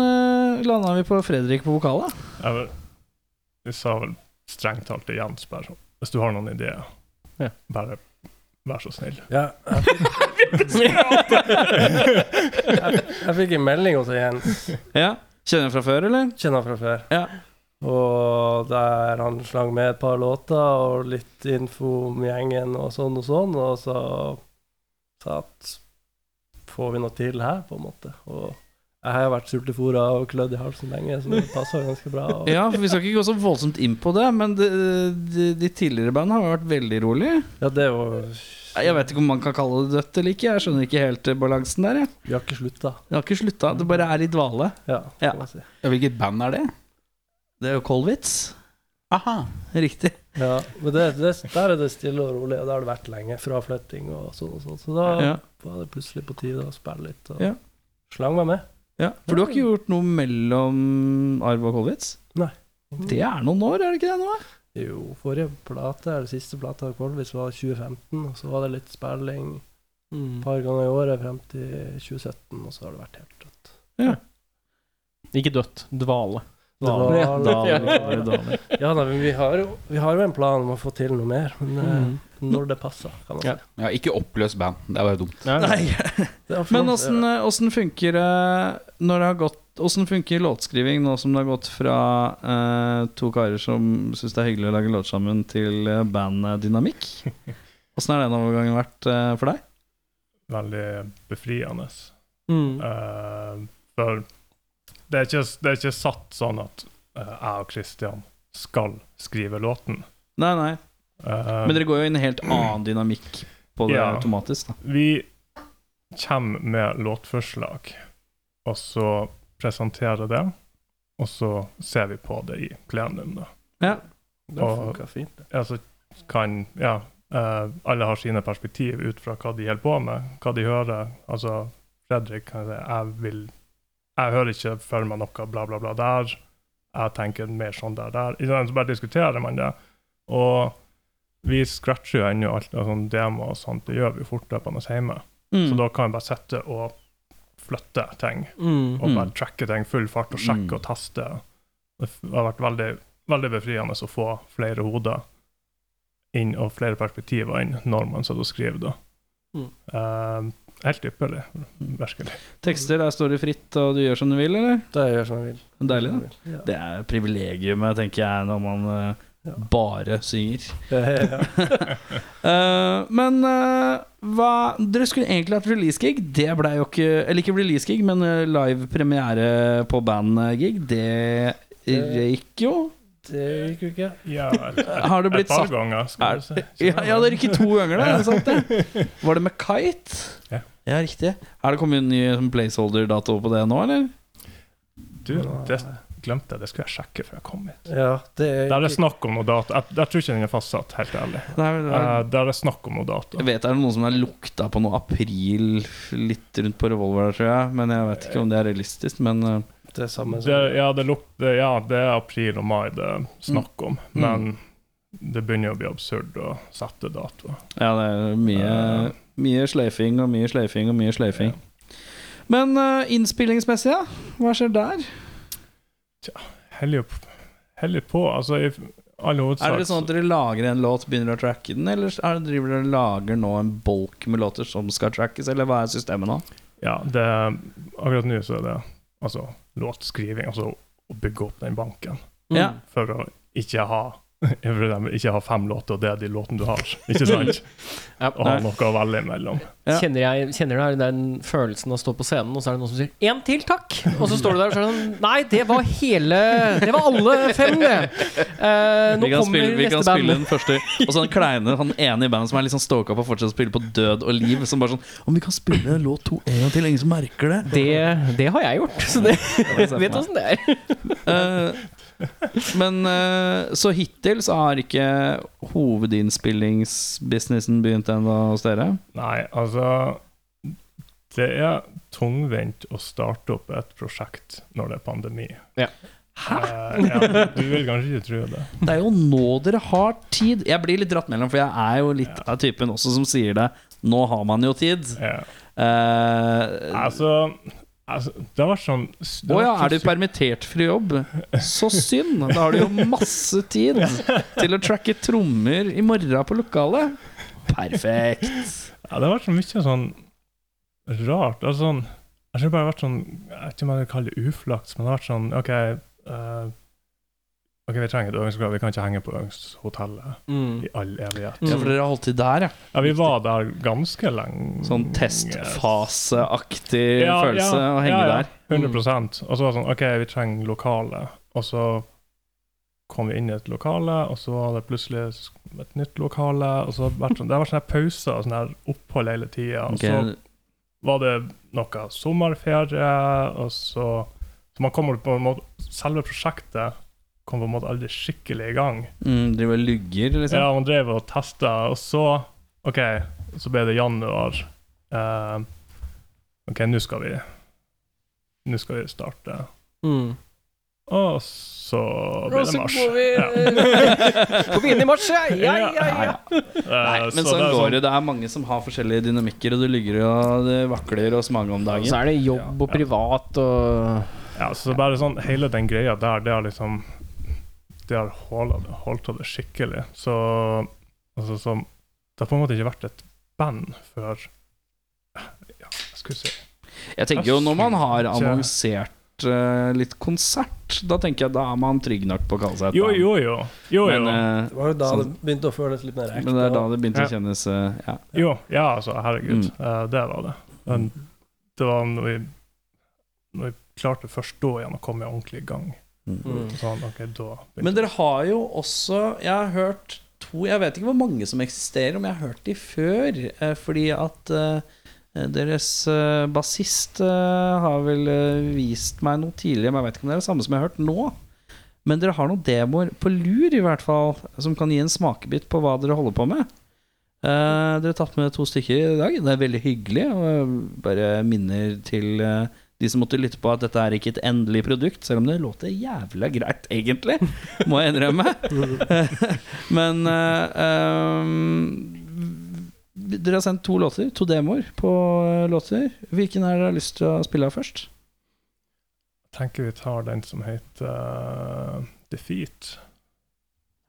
S2: landa vi på Fredrik på vokal, da?
S6: Jeg, vel- jeg sa vel strengt talt til Jens bare sånn Hvis du har noen ideer,
S1: Ja.
S6: bare vær så snill.
S5: Ja, jeg, fikk, jeg fikk en melding hos Jens,
S2: Ja, Kjenner du fra før, eller?
S5: kjenner han fra før.
S2: Ja.
S5: Og der han slang med et par låter og litt info om gjengen og sånn og sånn, og så sa at får vi noe til her, på en måte. Og jeg har vært sultefòra og klødd i halsen lenge, så det passer jo ganske bra. Og,
S2: Ja, for Vi skal ikke gå så voldsomt inn på det, men de, de, de tidligere bandene har jo vært veldig rolige.
S5: Ja, det var
S2: Jeg vet ikke om man kan kalle det dødt eller ikke. Jeg skjønner ikke helt eh, balansen der. Jeg.
S5: Vi har ikke slutta.
S2: Det har ikke slutta. Det bare er i dvale.
S5: Ja,
S2: Ja.
S5: kan man si.
S3: Hvilket band er det?
S2: Det er jo Kolwitz.
S3: Aha.
S2: Riktig.
S5: Ja, men det, det, der er det stille og rolig, og det har det vært lenge. Fraflytting og sånn og sånn. Så da
S2: Ja.
S5: var det plutselig på tide å spille litt. Og
S2: Ja.
S5: slang meg med.
S2: Ja. For du har ikke gjort noe mellom Arv og Kolwitz?
S5: Nei.
S2: Det er noen år, er det ikke det? nå?
S5: Jo, forrige plate, eller siste plate av Kolvis var 2015, og så var det litt spilling
S1: Mm.
S5: et par ganger i året frem til 2017, og så har det vært helt dødt.
S1: Ikke dødt. Dvale.
S5: Dvale,
S1: Ja,
S5: dvale,
S1: dvale, dvale.
S5: Ja da, men vi har, jo, vi har jo en plan om å få til noe mer, men eh, når det passer, kan man si.
S1: Ja.
S3: Ja, ikke oppløs band. Det er bare dumt.
S2: Nei,
S5: Det
S2: Men
S5: er flott,
S2: åssen
S5: det
S2: åssen funker det når det har gått Åssen funker låtskriving nå som det har gått fra eh, to karer som syns det er hyggelig å lage låt sammen, til eh, bandet Dynamikk? Åssen har den overgangen vært eh, for deg?
S6: Veldig befriende.
S1: Mm.
S6: Eh, for det er, ikke, det er ikke satt sånn at eh, jeg og Kristian skal skrive låten.
S2: Nei, nei.
S6: Eh,
S2: Men dere går jo inn i en helt annen dynamikk på det
S6: Ja.
S2: automatisk, da.
S6: Vi kommer med låtforslag, og så presenterer det, og så ser vi på det i plenum. Da.
S5: det funka fint. det.
S6: Ja, så altså, kan Ja, eh, alle har sine perspektiv ut fra hva de holder på med, hva de hører. Altså, Fredrik kan si jeg vil Jeg hører ikke for meg noe bla, bla, bla der. Jeg tenker mer sånn der, der. Ikke sant? Så bare diskuterer man det. Og vi scratcher jo ennå alt av sånn demo og sånt. Det gjør vi jo fortløpende hjemme.
S2: Mm.
S6: Så da kan jeg bare sette og flytte ting,
S1: Mm.
S6: og bare
S2: Mm.
S6: tracke ting full fart og sjekke
S2: Mm.
S6: og teste. Det f- har vært veldig, veldig befriende å få flere hoder inn og flere perspektiver inn når man sitter og skriver. da.
S1: Mm.
S6: Eh, helt ypperlig, virkelig.
S2: Tekster, der står det fritt, og du gjør som du vil, eller?
S5: Det gjør som jeg vil.
S2: Deilig, da.
S5: Ja.
S2: Det er privilegiumet, tenker jeg, når man eh,
S5: Ja.
S2: bare synger.
S5: Ja.
S2: Eh, men eh, hva Dere skulle egentlig hatt release-gig. Det blei jo ikke Eller ikke release-gig, men eh, live premiere på band-gig. Det røyk jo.
S5: Det gikk jo ikke.
S6: Ja, et, et,
S2: Har det blitt
S6: et par
S2: sagt-
S6: ganger,
S2: Er-
S6: skal du si.
S2: Ja, ja det røyk to ganger, da. er det Sant, det? Var det med Kite?
S6: Ja.
S2: riktig. Er det kommet en ny sånn placeholder-dato på det nå, eller?
S6: Du, det glemte jeg. Det skulle jeg sjekke før jeg kom hit.
S5: Ja, det
S6: Der er
S5: gikk
S6: det snakk om noe dato. Jeg, jeg tror ikke den er fastsatt, helt ærlig.
S2: Nei, men,
S6: Eh, der er snakk om noe dato.
S2: Jeg vet det er noen som har lukta på noe april litt rundt på revolver, der, tror jeg. Men jeg vet ikke om det er realistisk. Men eh,
S5: ikke det samme
S6: Det,
S5: som
S6: ja, det luk, det, ja, det er april og mai det er snakk om,
S2: Mm.
S6: men det begynner å bli absurd å sette datoer.
S2: ja, det er mye,
S6: Ja.
S2: mye sløyfing og mye sløyfing og mye sløyfing. Men eh, innspillingsmessig, ja? Hva skjer der?
S6: Heller på. Heller på. Altså, i all hovedsak
S2: Er det sånn at dere lager en låt, begynner å tracke den, eller er det driver dere og lager nå en bolk med låter som skal trackes, eller hva er systemet nå?
S6: Ja, det, akkurat nå så er det altså, låtskriving, altså å bygge opp den banken.
S2: Ja.
S6: For å ikke ha for eksempel ikke ha fem låter, og det er de låtene du har. Ikke sant?
S1: Ja.
S6: Og ha noe å velge imellom.
S2: Ja.
S1: Kjenner, jeg, kjenner du den følelsen av å stå på scenen, og så er det noen som sier 'én til, takk'? Og så står du der og så er det sånn Nei, det var hele Det var alle fem, det. Eh, nå
S2: Vi kan,
S1: kommer
S2: spille, vi
S1: neste
S2: kan
S1: band.
S2: spille den første Og så han kleine, han ene i bandet som er litt sånn stalka på å fortsette å spille på død og liv. Som bare sånn Om vi kan spille en låt to en gang til, ingen som merker det?
S1: Det, det har jeg gjort, så det
S2: kan jeg se for
S1: vet
S2: meg.
S1: åssen det er.
S2: Eh, men eh, så hittil så har ikke hovedinnspillingsbusinessen begynt ennå hos dere?
S6: Nei, altså Det er tungvint å starte opp et prosjekt når det er pandemi.
S1: Ja.
S6: Hæ? ja, du vil kanskje ikke tro det.
S2: Det er jo nå dere har tid. Jeg blir litt dratt mellom, for jeg er jo litt av typen også som sier det. Nå har man jo tid.
S6: Ja.
S2: Eh,
S6: Altså, altså Det har vært sånn det
S2: Å
S6: har
S2: ja,
S6: vært
S2: er du
S6: så sykt-
S2: permittert fra jobb? Så synd! Da har du jo masse tid til å tracke trommer i morgen på lokalet. Perfekt.
S6: ja, Det har vært så mye sånn rart. Altså sånn Jeg tror det bare har vært sånn Jeg vet ikke om jeg vil kalle det uflaks, men det har vært sånn OK, eh, ok, vi trenger et øvingslokale. Vi kan ikke henge på øvingshotellet i all evighet.
S2: Ja, for dere har holdt til der, ja.
S6: Ja, vi var der ganske lenge.
S2: Sånn testfaseaktig følelse å henge
S6: Mm, ja, ja,
S2: der.
S6: 100 Og så var det sånn OK, vi trenger lokale. Og så kom vi inn i et lokale, og så var det plutselig et nytt lokale. Og så har det vært sånn, det har vært sånne pauser og sånne her opphold hele tida. Og
S2: Ok,
S6: så var det noe sommerferie, og så Så man kommer på en måte Selve prosjektet kom på en måte aldri skikkelig i gang.
S2: mm, Driver og lugger, liksom.
S6: Ja, man drev og testa, og så OK, så ble det januar. Eh, OK, nå skal vi Nå skal vi starte. Og så
S1: Mm. Og
S6: ble det
S1: så
S6: mars.
S1: går vi, går vi inn i marsjet. Ja, ja, ja.
S6: Eh,
S2: Nei, men sånn
S6: det er
S2: går
S6: sånn-
S2: det. Det er mange som har forskjellige dynamikker, og det lugger og det vakler hos mange om
S1: Og så
S2: dagen.
S1: er det jobb og privat og
S6: Ja, så bare sånn hele den greia der, det har liksom Det har håla det- holdt av det skikkelig. Så altså så, Det har på en måte ikke vært et band før Ja, jeg skulle si
S2: Jeg tenker jo når man har annonsert eh, litt konsert, da tenker jeg da er man trygg nok på å kalle seg et
S6: Jo,
S2: band.
S6: jo, jo. jo, jo.
S2: Men, eh,
S5: Det var jo da
S2: Sånn.
S5: det begynte å føles litt mer ekte.
S2: Men det er da det begynte
S6: Ja.
S2: å kjennes eh, ja. Mm.
S6: Jo, ja, altså, herregud. Eh, det var det. Men det var når vi, når vi klarte først da igjen å komme ordentlig i gang.
S2: Mm.
S6: Sånn, ok, da begynte
S2: Men dere har jo også Jeg har hørt to Jeg vet ikke hvor mange som eksisterer, om jeg har hørt de før. eh, Fordi at eh, deres eh, bassist eh, har vel eh, vist meg noe tidligere, men jeg vet ikke om det er det samme som jeg har hørt nå. Men dere har noen demoer på lur, i hvert fall, som kan gi en smakebit på hva dere holder på med. Eh, dere har tatt med to stykker i dag. Det er veldig hyggelig. Og jeg bare minner til eh, de som måtte lytte på at dette er ikke et endelig produkt, selv om det låter jævla greit, egentlig må jeg innrømme. Men eh, um, dere har sendt to låter, to demoer på eh, låter. Hvilken er det dere har lyst til å spille av først?
S6: Jeg tenker vi tar den som heter eh, Defeat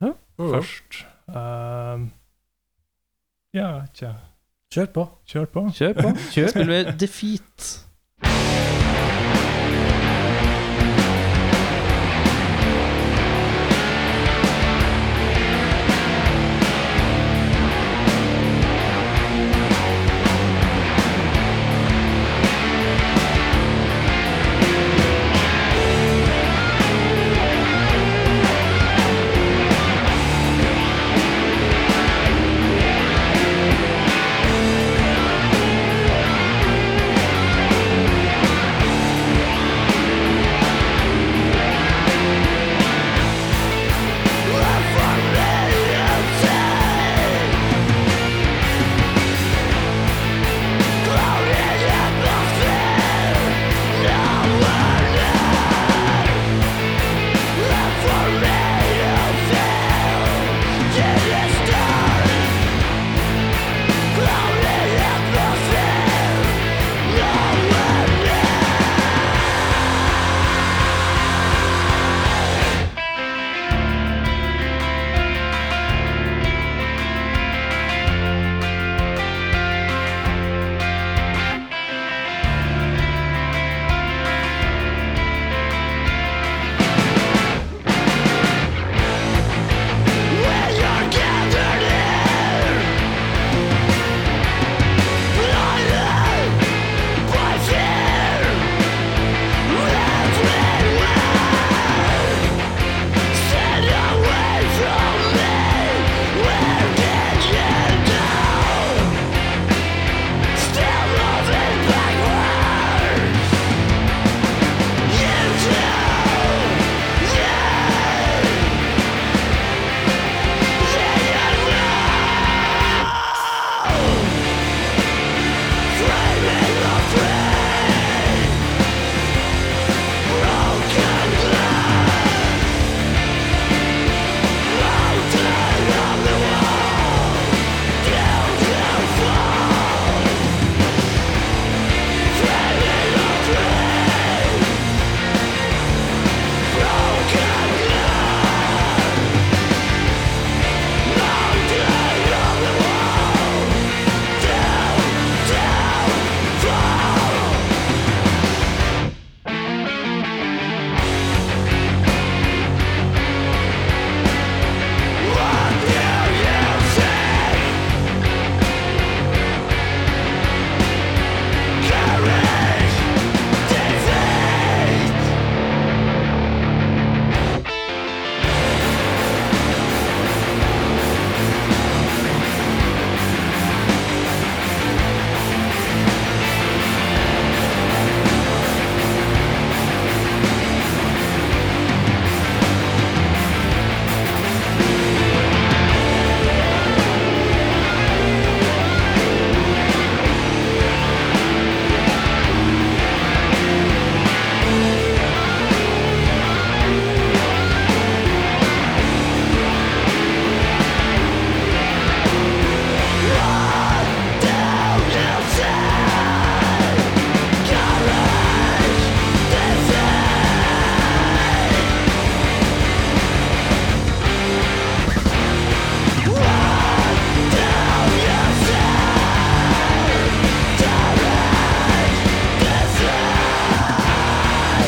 S2: Ja.
S5: Mm.
S6: først. Eh, ja, jeg vet ikke.
S5: Kjør på.
S6: Kjør på.
S2: Kjør på. Kjør. Spiller vi Defeat.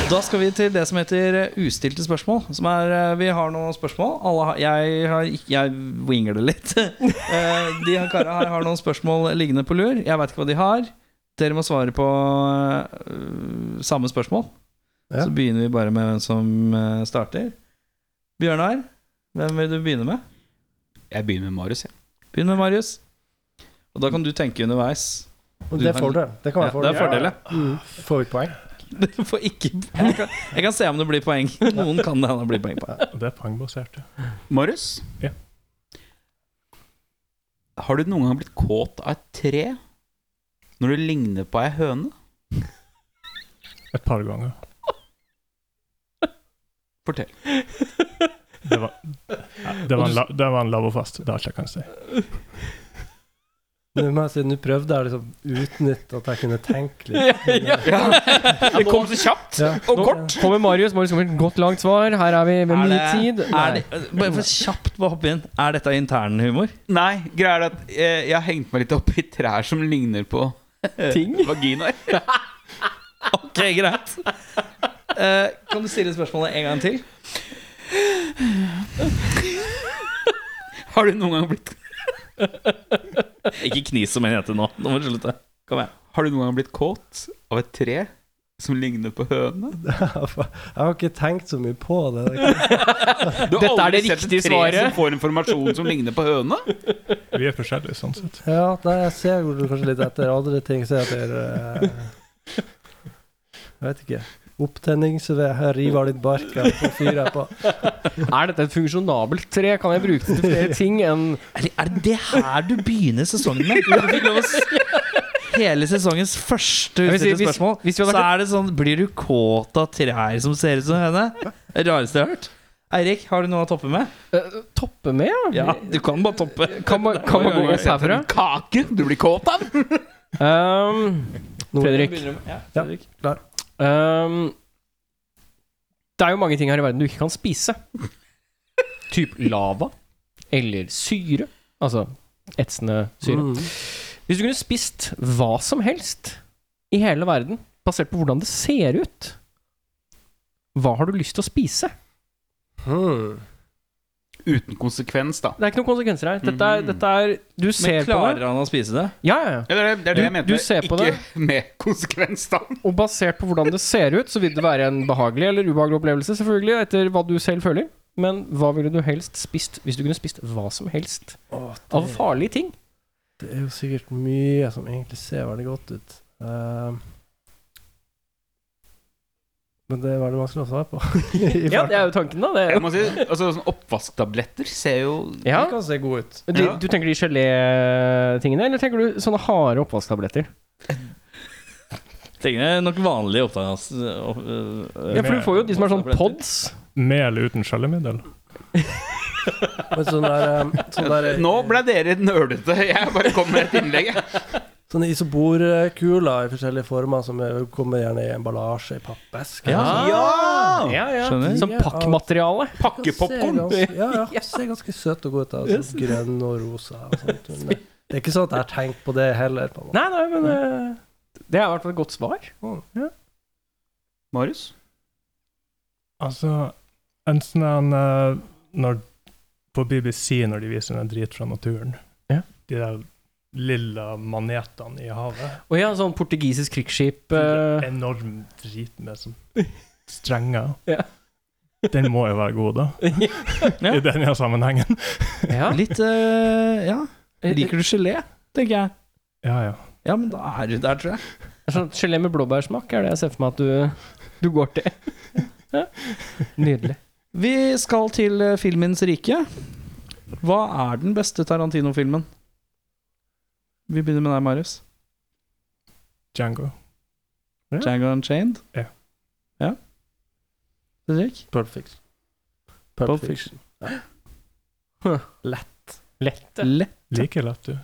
S2: Da skal vi til det som heter eh, ustilte spørsmål. Som er, eh, vi har noen spørsmål. Alle har, jeg, har, ikke- jeg winger det litt. Eh, de her karene her har noen spørsmål liggende på lur. Jeg veit ikke hva de har. Dere må svare på eh, samme spørsmål.
S5: Ja.
S2: Så begynner vi bare med hvem som eh, starter. Bjørnar, hvem vil du begynne med?
S3: Jeg begynner med Marius. jeg.
S2: Begynn med Marius. Og da kan du tenke underveis.
S5: Og
S2: Du
S5: det
S2: kan-
S5: får du. Det kan
S2: Ja,
S5: være
S2: det er fordel, ja.
S5: Mm. Får vi et poeng?
S2: Du får ikke jeg kan, jeg kan se om det blir poeng. Noen kan det hende blir poeng på.
S6: Og det er poengbasert. ja.
S3: Marius?
S6: Ja.
S3: Har du noen gang blitt kåt av et tre når du ligner på ei høne?
S6: Et par ganger.
S3: Fortell.
S6: Det var, det var en, la, det var en lavofest. Det er alt jeg kan si.
S5: Nå må jeg si, nå prøvde jeg liksom utnytte at jeg kunne tenke litt.
S3: Det kom så kjapt
S5: Ja.
S3: og kort.
S1: Kommer Marius. Marius kommer med et godt langt svar. Her er vi ved
S2: Er
S1: mye
S2: det,
S1: tid.
S2: er det, bare for kjapt å hoppe inn. Er dette internhumor?
S3: Nei, greia er at eh, jeg har hengt meg litt opp i trær som ligner på
S1: ting.
S3: vaginaer.
S2: Ok, greit. Eh, kan du stille spørsmålet en gang til?
S3: Har du noen gang blitt
S2: Ikke knis som en jente nå. Nå må du slutte. Kom igjen.
S3: Har du noen gang blitt kåt av et tre som ligner på høne?
S5: Jeg har ikke tenkt så mye på det.
S3: Du har
S1: Dette er det
S3: aldri sett et
S1: riktige
S3: tre
S1: svaret.
S3: Som får informasjon som ligner på høne?
S6: Vi er forskjellige, sånn sett.
S5: Ja, nei, jeg ser jo kanskje litt etter andre ting. Ser etter eh, Jeg vet ikke. Opptenning, så vil jeg her rive av litt bark og så fyrer jeg på.
S1: Er dette et funksjonabelt tre? Kan jeg bruke det til flere ting enn
S2: Er det, er det det her du begynner sesongen med? Du fikk lov å s Hele sesongens første
S1: Jeg vil si,
S2: utstilte
S1: hvis-
S2: spørsmål.
S1: hvis vi hadde
S2: så
S1: vært-
S2: er det sånn Blir du kåt av trær som ser ut som henne? Det rareste jeg har hørt. Eirik, har du noe å toppe med?
S1: Eh, toppe med?
S2: Ja, du kan bare toppe.
S1: Kan man, kan man gå opp herfra?
S3: Kake du blir kåt av?
S1: Um, Fredrik.
S2: Ja,
S5: Ja.
S2: Fredrik.
S1: Um, det er jo mange ting her i verden du ikke kan spise. Typ lava. Eller syre. Altså etsende syre.
S5: Mm.
S1: Hvis du kunne spist hva som helst i hele verden, basert på hvordan det ser ut, hva har du lyst til å spise?
S5: Hmm.
S3: Uten konsekvens, da.
S1: Det er ikke noen konsekvenser her. Dette er, dette er Du ser
S2: Mm. Men
S1: på det.
S2: klarer han å spise det?
S1: Ja, ja, ja.
S3: Ja, det er det, det, er det
S1: Du-
S3: jeg mente.
S1: du ser på
S3: ikke
S1: det.
S3: med konsekvens, da.
S1: Og basert på hvordan det ser ut, så vil det være en behagelig eller ubehagelig opplevelse, selvfølgelig, etter hva du selv føler. Men hva ville du helst spist hvis du kunne spist hva som helst
S5: Å,
S1: av
S5: det-
S1: farlige ting?
S5: Det er jo sikkert mye som egentlig ser veldig godt ut. Ehm. men det er veldig vanskelig å svare på. I
S1: Ja,
S5: farten.
S1: det er jo tanken, da.
S3: Jeg
S1: Det.
S3: må si, altså sånn Oppvasktabletter ser jo
S1: Ja.
S5: Det kan se god ut.
S1: De,
S3: Ja.
S1: du tenker de gelétingene, eller tenker du sånne harde oppvasktabletter?
S2: Tenker jeg nok vanlig opptak hans. øh, øh,
S1: Ja, for du får jo de som er sånn
S2: Oppvasktabletter.
S1: pods.
S6: Mel uten skjellemiddel.
S5: Men sånn der, ehm, sånn der
S3: Nå ble dere nerdete. Jeg bare kom med et innlegg. jeg.
S5: Sånne isoborkuler i forskjellige former som er- kommer gjerne i emballasje i pappeske. Altså,
S2: Ja.
S1: Ja, ja.
S2: Skjønner.
S1: Som pakkmateriale.
S3: Pakkepopkorn.
S5: Ja, ja. Ser ganske søt og god ut. da. Sånn grønn og rosa og sånt. Men det det er ikke sånn at jeg har tenkt på det heller. på en måte.
S1: Nei, nei, men eh, det er i hvert fall et godt svar.
S3: Marius?
S6: Altså, en sånn en eh, når, På BBC, når de viser en drit fra naturen
S1: Ja.
S6: De der lilla manetene i havet.
S1: Og ja, sånn portugisisk krigsskip eh,
S6: Enorm drit med sånn strenger.
S1: Ja.
S6: Den må jo være god, da. I denne sammenhengen.
S1: ja.
S2: Litt øh, Ja. Liker du gelé, tenker jeg.
S6: Ja, ja.
S2: Ja, men da er du der, tror jeg.
S1: Sånn gelé med blåbærsmak er det jeg ser for meg at du, du går til. Ja. Nydelig.
S2: Vi skal til eh, filmens rike. Hva er den beste Tarantino-filmen? Vi begynner med deg, Marius.
S6: Django. Ja.
S2: Django Unchained.
S6: Ja.
S2: Ja. Fredrik?
S5: Pulp Fiction. Pulp
S2: Pulp
S5: Fiction.
S1: Lett.
S2: Le.
S6: Like lett, du.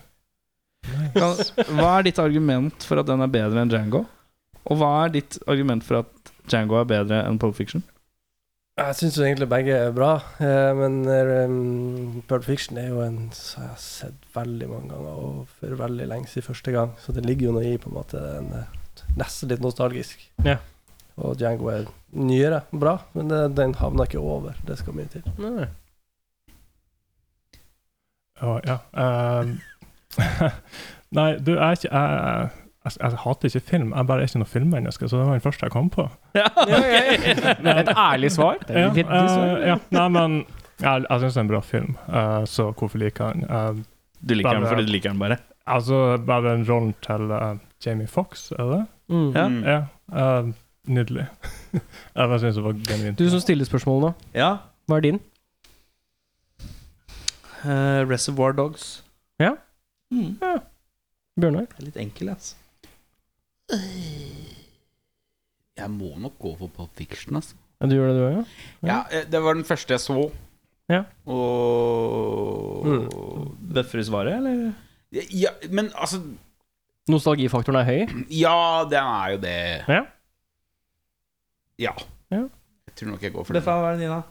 S2: Kan- Hva er ditt argument for at den er bedre enn Django? Og hva er ditt argument for at Django er bedre enn Pole Fiction?
S5: Jeg syns egentlig begge er bra, eh, men um, Pulp Fiction er jo en som jeg har sett veldig mange ganger, og for veldig lenge siden første gang. Så det ligger jo noe i, på en måte, en, eh, nesten litt nostalgisk.
S1: Ja.
S5: Og Django er nyere, bra, men det, den havna ikke over. Det skal mye til.
S1: Nei.
S6: Å, ja. Eh, nei, du, jeg er ikke jeg, jeg, jeg hater ikke film. Jeg bare er ikke noe filmmenneske, så det var den første jeg kom på.
S2: Ja,
S1: Det er et ærlig svar. Det er
S6: Ja,
S1: et veldig sånn, svar.
S6: eh, ja. Nei, men jeg, jeg syns det er en bra film, eh, så hvorfor liker jeg den? Eh,
S2: Du liker den
S6: Bare-
S2: fordi du liker den bare.
S6: altså, bare den rollen til eh, Jamie Fox, er det?
S1: Mm.
S2: Ja.
S3: Mm.
S6: Ja. eh, nydelig. jeg bare syns det var genuint.
S1: Du som stiller spørsmålene,
S2: Ja.
S1: hva er din?
S2: eh, Reservoir Dogs.
S1: Ja.
S2: Mm.
S1: Bjørnar?
S2: Det er litt enkel, altså.
S3: Jeg må nok gå for Pulp Fiction, altså.
S1: Ja, Du gjør det, du òg, ja?
S3: Ja, eh, det var den første jeg så.
S1: Ja.
S3: Og
S2: Bøffer du svaret, eller?
S3: Ja, men altså
S1: Nostalgifaktoren er høy.
S3: Ja, den er jo det.
S6: Ja.
S3: Ja.
S1: Ja.
S3: Jeg tror nok jeg går for den.
S2: Stefan, hva er det din, da?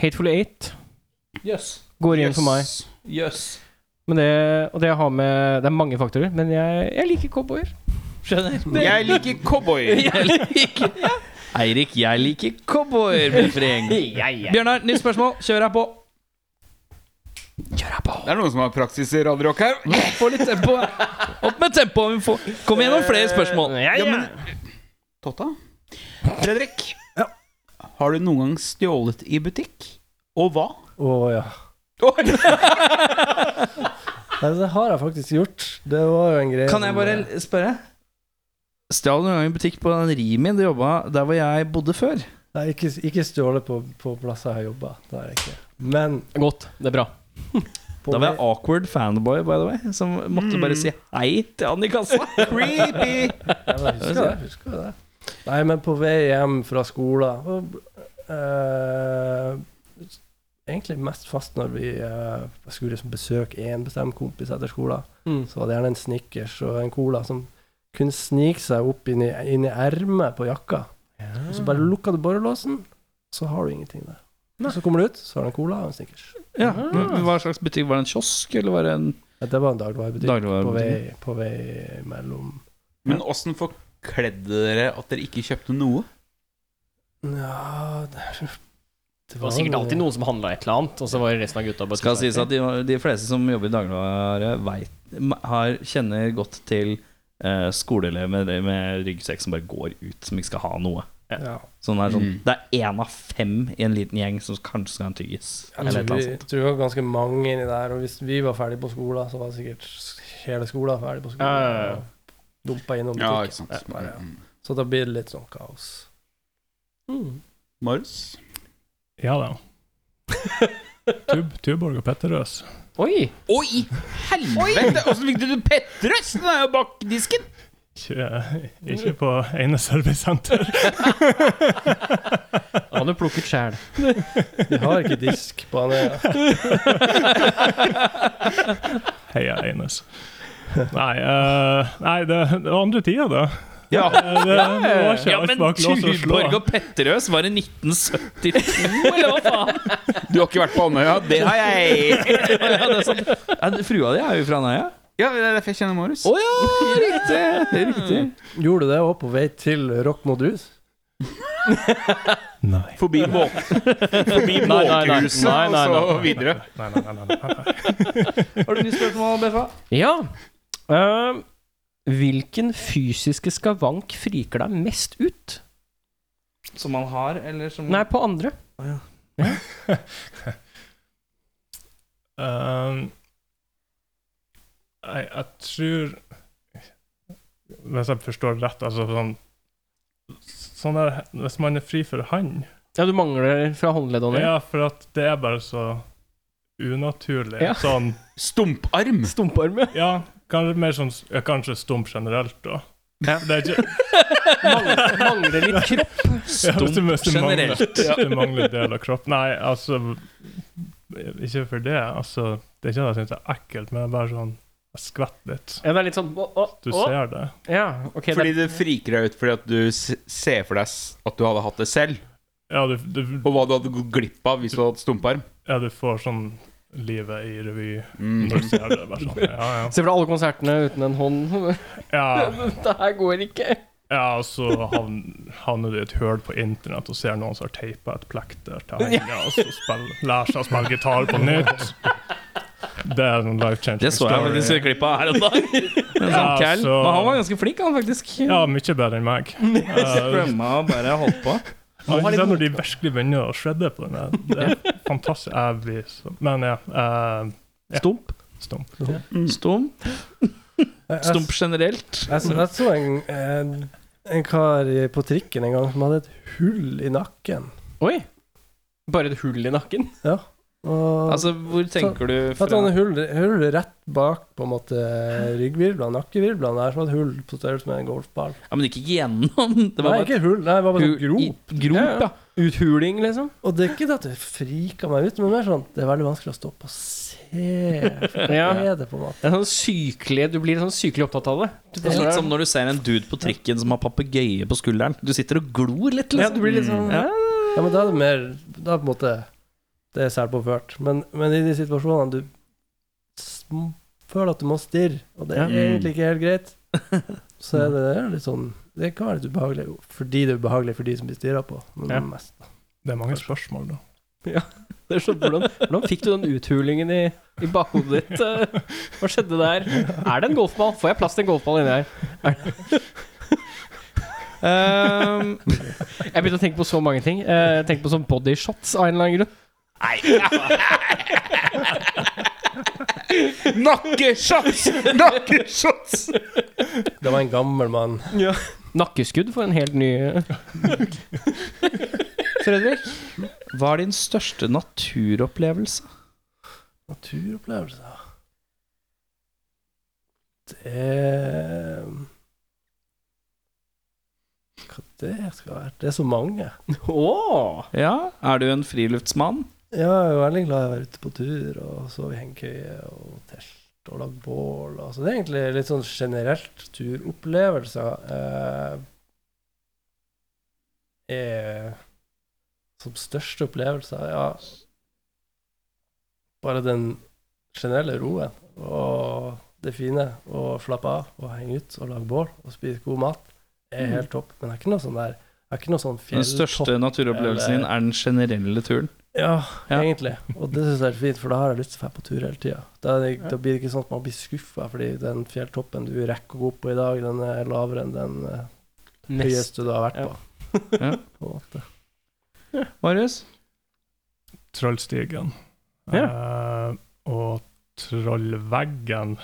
S1: Hateful Eight
S2: Jøss.
S1: går inn for meg.
S3: Yes.
S2: Jøss.
S1: Men det, og det, har med, det er mange faktorer, men jeg, jeg liker cowboyer.
S2: Skjønner.
S3: Jeg liker cowboy.
S2: Jeg liker Eirik, jeg liker cowboyer med freng. Bjørnar, nytt spørsmål. Kjør her på. Kjør her på.
S3: Det er noen som har praksis i radiorock her.
S2: Få litt tempo. Opp med tempoet. vi får- Kom igjennom flere spørsmål.
S3: Ja, men Totta? Fredrik. Har du noen gang stjålet i butikk? Og hva?
S5: Å ja. Nei, det har jeg faktisk gjort. Det var jo en greie
S2: Kan jeg
S5: som- eh,
S2: bare l- spørre? Eh, Stjal du noen gang en butikk på den Rimi du jobba der hvor jeg bodde før?
S5: Nei, ikke, ikke stjålet på, på plasser jeg har jobba. Det har jeg ikke. Men
S1: Godt. Det er bra.
S5: på
S2: Da var jeg
S5: vei-
S2: awkward fanboy, by the way, som måtte bare si hei til han i kassa.
S3: Creepy!
S5: Ja, men jeg husker det. jeg Husker det. Nei, men på vei hjem fra skolen og, eh, Egentlig mest fast når vi eh, jeg skulle liksom besøke en bestemt kompis etter skolen. Så var det gjerne en Snickers og en Cola som kunne snike seg opp inn i, inn i ermet på jakka. Og så bare
S6: Mm.
S5: lukker du borrelåsen, så har du ingenting der. Og så kommer du ut, så har du en Cola og en Snickers.
S2: Ja. men Hva slags butikk? Var det en kiosk, eller var det en
S5: Ja, Det var en dagligvarebutikk på,
S2: dagligvarebutikk?
S5: vei- på vei mellom
S3: Men åssen forkledde dere at dere ikke kjøpte noe?
S5: Ja, det,
S1: Det var sikkert alltid noen som handla et eller annet, og så var resten av gutta bare
S2: Skal sies at de, de fleste som jobber i dagligvare, vet- har- kjenner godt til eh, skoleelever med, med ryggsekk som bare går ut, som ikke skal ha noe.
S5: Ja.
S2: Sånn er sånn,
S3: Mm.
S2: Det er én av fem i en liten gjeng som kanskje skal ha en tyggis.
S5: Jeg
S2: Eller et eller
S5: tror, Altså, vi,
S2: annet sånt.
S5: tror det var ganske mange inni der, og hvis vi var ferdig på skolen, så var sikkert hele skolen ferdig på skolen.
S1: Ja, ja, ja.
S5: Og dumpa innom
S3: Ja, ikke
S5: butikken.
S3: sant.
S5: bare, ja.
S3: Mm.
S5: Så da blir det litt sånn kaos.
S1: Mm.
S3: Marius?
S6: Ja da. Tub, Tuborg og Petterøes.
S1: Oi!
S3: Å, i helvete! Åssen fikk du det Petrus? Den er jo bak disken!
S6: Ikke, eh, ikke på ene servicesenter.
S1: Han hadde plukket sjæl.
S5: Vi har ikke disk på han.
S6: Heia Eines. Nei, eh, nei det, det var andre tida, da.
S3: Ja.
S6: Eh, Det, det var ikke
S2: Ja,
S6: alt
S2: men
S6: bak lås og slå.
S2: Tuborg og Petterøes var i 1972, eller hva faen?
S3: Du har ikke vært på Andøya? Det har jeg.
S2: Ja, det er sant. Ja, Frua di er jo fra Nøya.
S3: Ja, Det er derfor jeg kjenner Marius.
S2: Å ja, riktig! riktig.
S5: Gjorde du det òg på vei til Rock mot rus?
S6: Nei.
S3: Forbi, måk Forbi
S1: nei, nei.
S3: måkehuset
S1: Nei, nei, nei,
S3: og så
S1: nei.
S3: videre.
S6: Nei, nei, nei, nei, nei, nei.
S2: Har du nytt spørsmål, BFA?
S1: Ja. Eh, hvilken fysiske skavank friker deg mest ut?
S2: Som man har, eller som
S1: Nei, på andre.
S6: Um, nei, jeg tror Hvis jeg forstår det rett, altså sånn Sånn der, Hvis man er fri for hand
S1: Ja, du mangler fra håndleddet og ned.
S6: Ja, for at det er bare så unaturlig.
S1: Ja.
S6: Sånn
S3: Stumparm.
S1: Stumpearme.
S6: Ja, kanskje mer sånn ja, Kanskje stump generelt, da.
S2: Ja.
S6: Det er ikke,
S1: Mangler, mangler litt kropp.
S6: ja, hvis du- hvis du mangler-
S2: generelt.
S6: hvis Du mangler del av kroppen. Nei, altså Ikke for det. Altså, det er ikke det jeg syns er ekkelt, men det er bare sånn Jeg skvetter litt.
S1: Ja, det er litt sånn å, å,
S6: Du
S1: å.
S6: ser det.
S1: Ja, ok.
S3: Fordi
S1: det,
S3: det friker deg ut fordi at du s- ser for deg s- at du hadde hatt det selv,
S6: Ja, du, du,
S3: og hva du hadde gått glipp av hvis du hadde hatt stumparm.
S6: ja, du får sånn livet i revy
S3: Mm.
S6: når du ser det. Bare sånn. Ja, ja.
S1: Se for deg alle konsertene uten en hånd.
S6: ja,
S1: Dette her går ikke.
S6: ja og så havn- havner du i et høl på internett og ser noen som har teipa et plekter til hengeren, og så spiller, lærer seg å spille gitar på nytt. Det er en life changing
S2: Det så jeg
S6: story.
S2: faktisk i klippet her en dag. En sånn
S6: Ja,
S2: kæll.
S6: så-
S2: Men han var ganske flink, han faktisk.
S6: Ja, mye bedre enn meg. Uh,
S2: Strømma og bare holdt på.
S6: når de virkelig begynner å shredde på den her. Det er fantastisk. Jeg blir så Men ja. eh, Ja. Mm.
S2: Stump.
S6: stump.
S2: Stump.
S5: Jeg, jeg,
S2: Stump generelt.
S5: jeg, så- jeg så en, en, en kar i- på trikken en gang som hadde et hull i nakken.
S1: Oi. Bare et hull i nakken.
S5: Og
S2: Altså, hvor tenker du
S5: At han
S2: fra?
S5: hadde hull, hull rett bak på en måte ryggvirvlene, nakkevirvlene der, som et hull på størrelse med en golfball.
S2: Ja, men ikke gjennom. Det var
S5: Nei,
S2: bare
S5: ikke hull, nei, det var bare
S2: Hu-
S5: sånn grop.
S2: i- grop, ja.
S1: Uthuling, liksom.
S5: Og det er ikke det at det frika meg ut, men mer sånn det er veldig vanskelig å stoppe og se. For det
S1: Ja.
S5: er det, på en måte.
S1: Det er sånn sykelig, du blir sånn sykelig opptatt av det. Du,
S2: Det er litt som når du ser en dude på trikken som har papegøye på skulderen. Du sitter og glor litt,
S1: ja,
S2: liksom.
S1: du blir litt sånn ja.
S5: Ja, men da er det mer Da er på en måte Det er selvpåført. Men, men i de situasjonene du sm- føler at du må stirre, og det
S2: Ja.
S5: er egentlig ikke helt greit, så er det, det er litt sånn Det kan være litt ubehagelig fordi det er ubehagelig for de som blir stirra på, men
S1: Ja.
S5: mest
S6: Det er mange spørsmål, da.
S1: Det er så, hvordan, hvordan fikk du den uthulingen i, i bakhodet ditt? eh? Hva skjedde der? Er det en golfball? Får jeg plass til en golfball inni her?
S2: Ehm,
S1: Jeg begynte å tenke på så mange ting. Eh, Jeg tenkte på sånn bodyshots av en eller annen grunn.
S3: Nakkeshots! Nakkeshots!
S5: Det var en gammel mann.
S1: Nakkeskudd for en helt ny eh,
S2: Fredrik, hva er din største naturopplevelse?
S5: Naturopplevelser Det eh, Hva det skal være? Det er så mange.
S1: Åh
S2: Ja, Er du en friluftsmann?
S5: Jeg er jo veldig glad i å være ute på tur og sove i hengekøye og telt og lage bål. Altså, det er egentlig litt sånn generelt turopplevelser eh, er som største opplevelser, ja Bare den generelle roen og det fine å slappe av og henge ut og lage bål og spise god mat er helt topp. Men det er ikke noe sånn der det er ikke noe sånn
S2: Mm. Den
S5: fjelltopp-
S2: største naturopplevelsen din er den generelle turen.
S5: ja,
S2: Ja.
S5: egentlig. Og det syns jeg er fint, for da har jeg lyst til å dra på tur hele tida. Da, er det- da blir det ikke sånn at man blir skuffa fordi den fjelltoppen du rekker å gå opp på i dag, den er lavere enn den eh,
S1: Nest.
S5: høyeste du har vært på.
S2: Ja.
S5: på en måte.
S2: Marius?
S6: Trollstigen. Eh, og Trollveggen,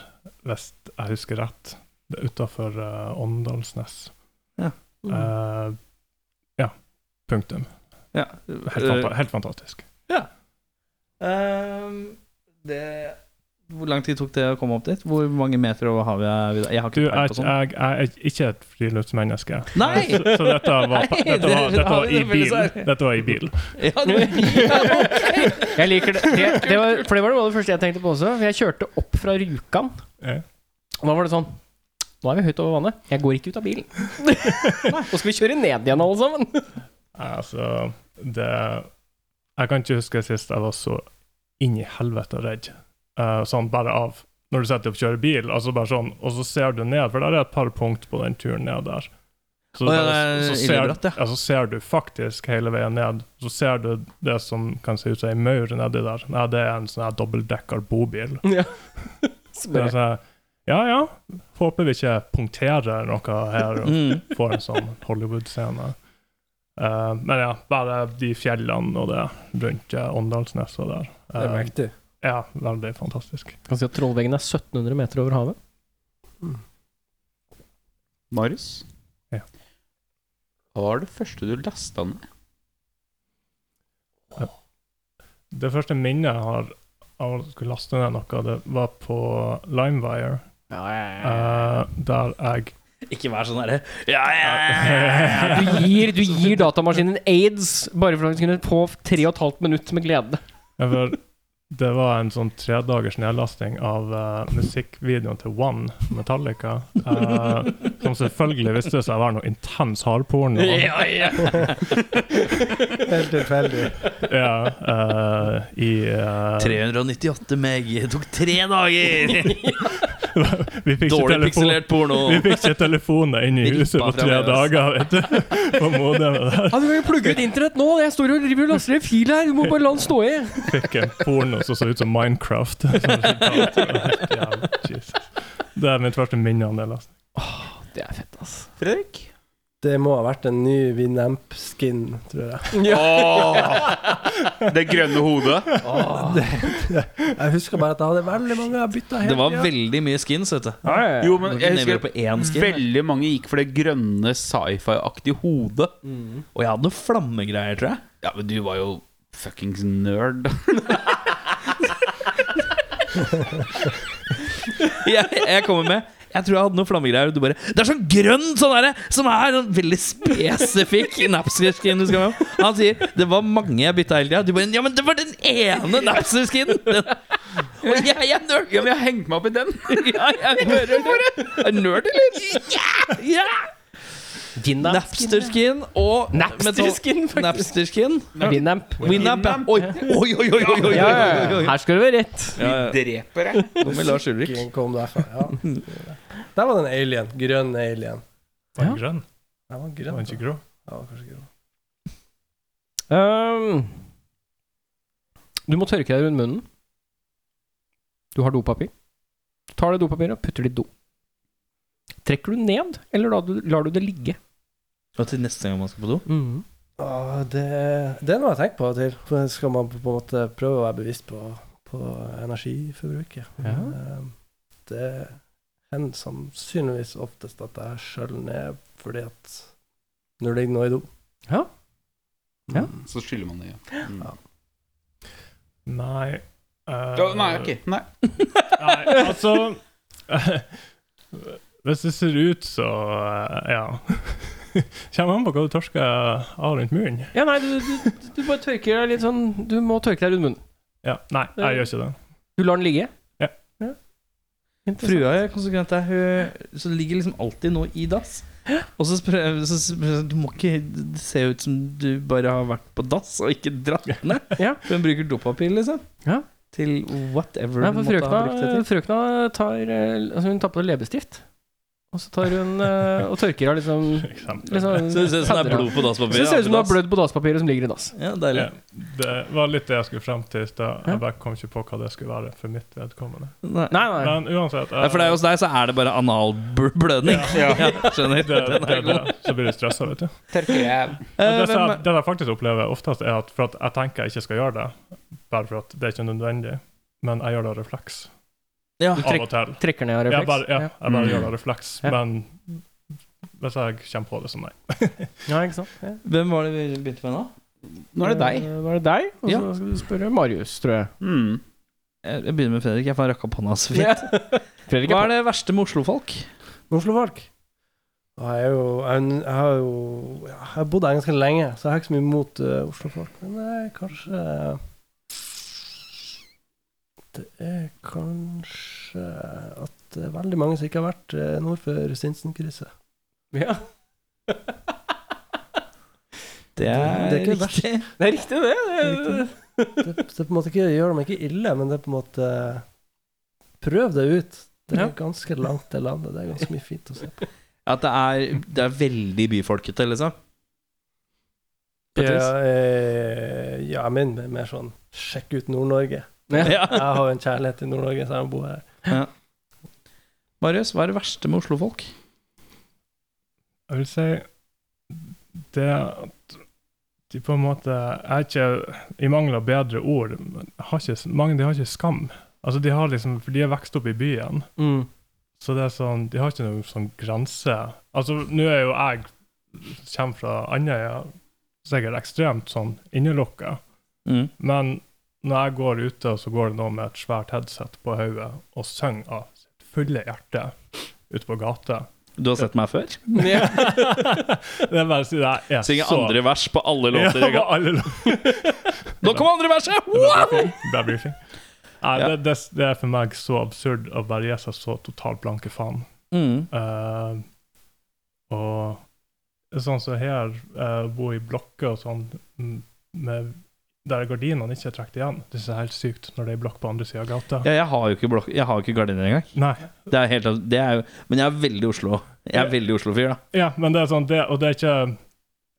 S6: hvis jeg husker rett. Det er Utafor eh, Åndalsnes.
S2: Ja.
S6: Eh, ja. Punktum.
S2: Ja.
S6: Helt,
S2: Eh,
S6: fanta helt fantastisk.
S2: Ehm, det Hvor lang tid tok det å komme opp dit? Hvor mange meter over havet er vi da? Jeg har
S6: Du,
S2: ikke
S6: jeg,
S2: peiling på sånn. sånt.
S6: jeg, jeg er ikke et friluftsmenneske.
S2: Nei!
S6: Så, så dette var,
S2: Nei,
S6: dette var,
S2: det-
S6: dette var i
S2: det er veldig
S6: bil.
S2: sær.
S6: Dette var i bil.
S2: Ja, du- ja, ok.
S1: Jeg liker det. det, det var, for det var noe av det første jeg tenkte på også. Jeg kjørte opp fra Rjukan.
S6: Ja.
S1: Og da var det sånn Nå er vi høyt over vannet. Jeg går ikke ut av bilen. Nå skal vi kjøre ned igjen, alle sammen.
S6: Altså, det Jeg kan ikke huske sist jeg var så inn i helvete redd. Eh, sånn bare av Når du setter deg opp og kjører bil, altså bare sånn, og så ser du ned, for der er et par punkt på den turen ned der. Så,
S2: Å, ja,
S6: bare-
S2: det er
S6: så, ser,
S2: illebratt, ja.
S6: ja, så ser du faktisk hele veien ned. Så ser du det som kan se ut som ei maur nedi der. Nei, det er en sånn her dobbeltdekker bobil. Så jeg sa, ja ja, håper vi ikke punkterer noe her. Og
S2: Mm.
S6: får en sånn Hollywood-scene. Eh, men ja, bare de fjellene og det rundt eh, Åndalsnes og der.
S5: Det er
S6: Eh,
S5: mektig.
S6: ja, veldig fantastisk.
S1: Kan si at Trollveggen er 1700 meter over havet.
S3: Marius?
S6: Ja.
S3: Hva var det første du lasta ned?
S6: Det første minnet jeg har av å skulle laste ned noe, det var på Limewire, eh, der jeg
S2: Ikke vær sånn herre ja, ja, ja, ja, ja.
S1: Du gir, du gir datamaskinen aids bare for at den kunne få 3,5 minutter med glede.
S6: ja, for Det var en sånn tredagers nedlasting av eh, musikkvideoen til One, Metallica. eh, som selvfølgelig viste seg å være noe intens hardporno.
S2: Ja, ja.
S5: Helt tilfeldig.
S6: Ja, eh, i eh,
S2: 398 meg, det tok tre dager!
S6: Vi fikk ikke
S2: Dårlig
S6: telefon.
S2: pikselert porno.
S6: Vi fikk ikke telefoner inn i
S2: Rippa
S6: huset på
S2: fra
S6: tre
S2: VHS.
S6: dager, vet du. På modemet der.
S1: Ja, du kan jo plugge ut internett nå! Jeg står og driver og laster en fil her! Du må bare la den stå i!
S6: Fikk en porno som så ut som Minecraft. Sånn resultat. Det var helt jævlig. Jesus. Det er mitt første minne om det. Lars.
S1: Det er fett, ass.
S3: Fredrik?
S5: Det må ha vært en ny Winamp-skin, tror jeg.
S3: Det grønne hodet?
S2: Ah.
S5: Jeg husker bare at jeg hadde veldig mange jeg bytta
S2: Det
S5: hele
S2: var
S5: tida.
S2: veldig mye skins, vet du.
S3: Jo,
S2: Nå er vi
S3: men jeg
S2: nede
S3: husker
S2: på én skin. her.
S3: veldig mange gikk for det grønne sci-fi-aktige hodet.
S2: Mm. Og jeg hadde noen flammegreier, tror jeg.
S3: Ja, men du var jo fuckings nerd.
S2: jeg. Jeg kommer med Jeg tror jeg hadde noen flammegreier. Og du bare Det er sånn grønn sånn derre som er sånn veldig spesifikk napster-skin du skal ha. Han sier det var mange jeg bytta hele tida. Du bare Ja, men det var den ene napster-skinen! Den- Og jeg, jeg er nerd.
S3: Ja, men jeg har hengt meg opp i den.
S2: Ja, jeg hører det. Er du nerd, eller? Ja! ja.
S1: Vinamp.
S2: Napster-skin og
S1: Napster-skin, faktisk.
S2: Napster-skin.
S1: Winamp.
S2: Winamp, ja. Oi, oi, oi, oi! oi, oi,
S1: Ja, ja,
S2: oi,
S1: ja.
S2: oi.
S1: Her skal du være rett.
S2: Ja, ja.
S3: Dreper jeg.
S2: Nå med Lars Ulrik.
S5: Fucking kom derfra. Ja. Der var det en alien. Grønn alien.
S6: Var den
S1: Ja.
S6: grønn?
S5: Den var
S6: Var
S5: grønn.
S6: den
S5: da.
S6: ikke grå?
S5: Ja, kanskje grønn.
S1: Um, du må tørke deg rundt munnen. Du har dopapir. Du tar det dopapiret og putter det i do. Trekker du ned, eller lar du, lar du det ligge?
S2: Og til neste gang man skal på do.
S1: Mm.
S5: Åh, det, det er noe jeg tenker på av og til. For skal man på en måte prøve å være bevisst på, på energiforbruket.
S1: Ja.
S5: Eh, Det hender sannsynligvis oftest at jeg skjøller ned fordi at når det ligger noe i do.
S1: Ja. Ja.
S5: Mm.
S3: Så skylder man det. Ja. Mm.
S6: Nei. eh,
S3: Ja, nei, ok. Nei.
S6: Nei, altså Hvis det ser ut, så eh, Ja. Kommer an på hva du tørsker av rundt munnen.
S1: Ja, nei, du, du, du bare tørker deg litt sånn Du må tørke deg rundt munnen.
S6: Ja, nei, jeg gjør ikke det.
S1: Du lar den ligge?
S6: Ja.
S1: Interessant.
S2: Frua er konsekvent der. Hun så det ligger liksom alltid noe i dass. Og så spør så spør- Du må ikke se ut som du bare har vært på dass og ikke dratt ned.
S1: Ja.
S2: Hun bruker dopapir, liksom.
S1: Ja.
S2: Til whatever
S1: Nei,
S2: du
S1: for
S2: måtte ha brukt det
S1: frøkna,
S2: til.
S1: frøkna tar eh, Altså, hun tar på det leppestift. Og så tar hun eh, og tørker av liksom,
S6: For eksempel.
S1: liksom padder av.
S2: på
S1: Så det ser ut som du har blødd på dasspapiret som ligger i dass.
S2: Ja, deilig.
S6: Ja, det var litt det jeg skulle frem til i stad.
S1: Ja.
S6: Jeg bare kom ikke på hva det skulle være for mitt vedkommende.
S2: Nei.
S1: Nei, nei.
S6: Men uansett eh,
S2: Nei, for det er hos deg så er det bare analblødning. Ja. skjønner.
S6: det, det,
S2: Den
S6: det,
S2: er god.
S6: Så blir du stressa, vet du.
S3: Tørker jeg.
S6: Men
S2: Eh,
S6: det, som jeg,
S2: hvem-
S6: det jeg faktisk opplever oftest, er at, for at jeg tenker jeg ikke skal gjøre det, bare for at det er ikke nødvendig, men jeg gjør det av refleks.
S2: ja.
S1: Du
S6: Av
S1: trekk-
S6: og til.
S1: trekker ned av
S6: Jeg
S1: Ah, refleks.
S6: bare, ja, jeg bare
S3: Mm.
S6: gjør det av refleks,
S1: Ja.
S6: men hvis jeg kommer på det, så nei.
S1: Ja, ikke sant? Ja.
S2: Hvem var det vi begynte med nå?
S3: Nå er det deg.
S1: Eh, Nå er det deg, og
S2: Ja.
S1: så skal du spørre Marius, tror jeg.
S3: Mm.
S2: Jeg jeg begynner med Fredrik. Jeg får rakk opp hånda så fint.
S1: Fredrik
S2: Hva
S1: er
S2: er det verste med Oslo-folk?
S5: Oslofolk. Og Jeg, er jo, jeg, jeg har jo ja, Jeg har bodd her ganske lenge, så jeg har ikke så mye imot eh, Oslofolk. Men det er kanskje Det er kanskje at det er veldig mange som ikke har vært eh, nord for Sinsenkrysset.
S1: på. Ja.
S2: Det er,
S5: Det er ikke verst.
S2: riktig.
S1: Det er riktig, det. det,
S5: Riktig. Det, det på en måte ikke, gjør dem ikke ille, men det er på en måte Prøv det ut. Det er
S1: Ja.
S5: ganske langt til landet. Det er ganske mye fint å se på.
S2: At det er, det er veldig byfolkete, liksom. På et
S5: Ja,
S2: vis.
S5: eh, ja min er mer sånn Sjekk ut Nord-Norge.
S2: Ja.
S5: Jeg har jo en kjærlighet til Nord-Norge, så jeg må bo her.
S2: Marius, hva er det verste med Oslo-folk?
S6: Jeg vil si det at de på en måte er ikke I mangel av bedre ord men har ikke, Mange de har ikke skam. Altså de har liksom, For de er vokst opp i byen,
S1: Mm.
S6: så det er sånn, de har ikke noen sånn grense. Altså Nå er jo jeg kommer fra Andøya, sikkert ekstremt sånn innelukka. Men når jeg går ute, så går det noen med et svært headset på hodet og synger av sitt fulle hjerte ute på gata.
S2: Du har sett meg før?
S1: Ja.
S6: Det er bare å si det er
S2: Synger
S6: så
S2: andre vers på alle
S6: Ja,
S2: låter.
S6: på alle låter.
S2: Nå kommer andre verset!
S6: Det er briefing. Det er briefing. Nei,
S2: Ja.
S6: det, det, det er for meg så absurd å bare gi seg så totalt blanke faen.
S2: Mm.
S6: Eh, og sånn som her, eh, bo i blokker og sånn, mm, med, der gardinene ikke er trukket igjen. Det er så helt sykt når det er blokk på andre sida av gata.
S2: Ja, jeg har jo ikke, blok jeg har jo ikke gardiner engang.
S6: Nei,
S2: Det er helt, det er jo, men jeg er veldig Oslo. Jeg er veldig Oslo-fyr, da.
S6: ja, men det er sånn, det, og det er ikke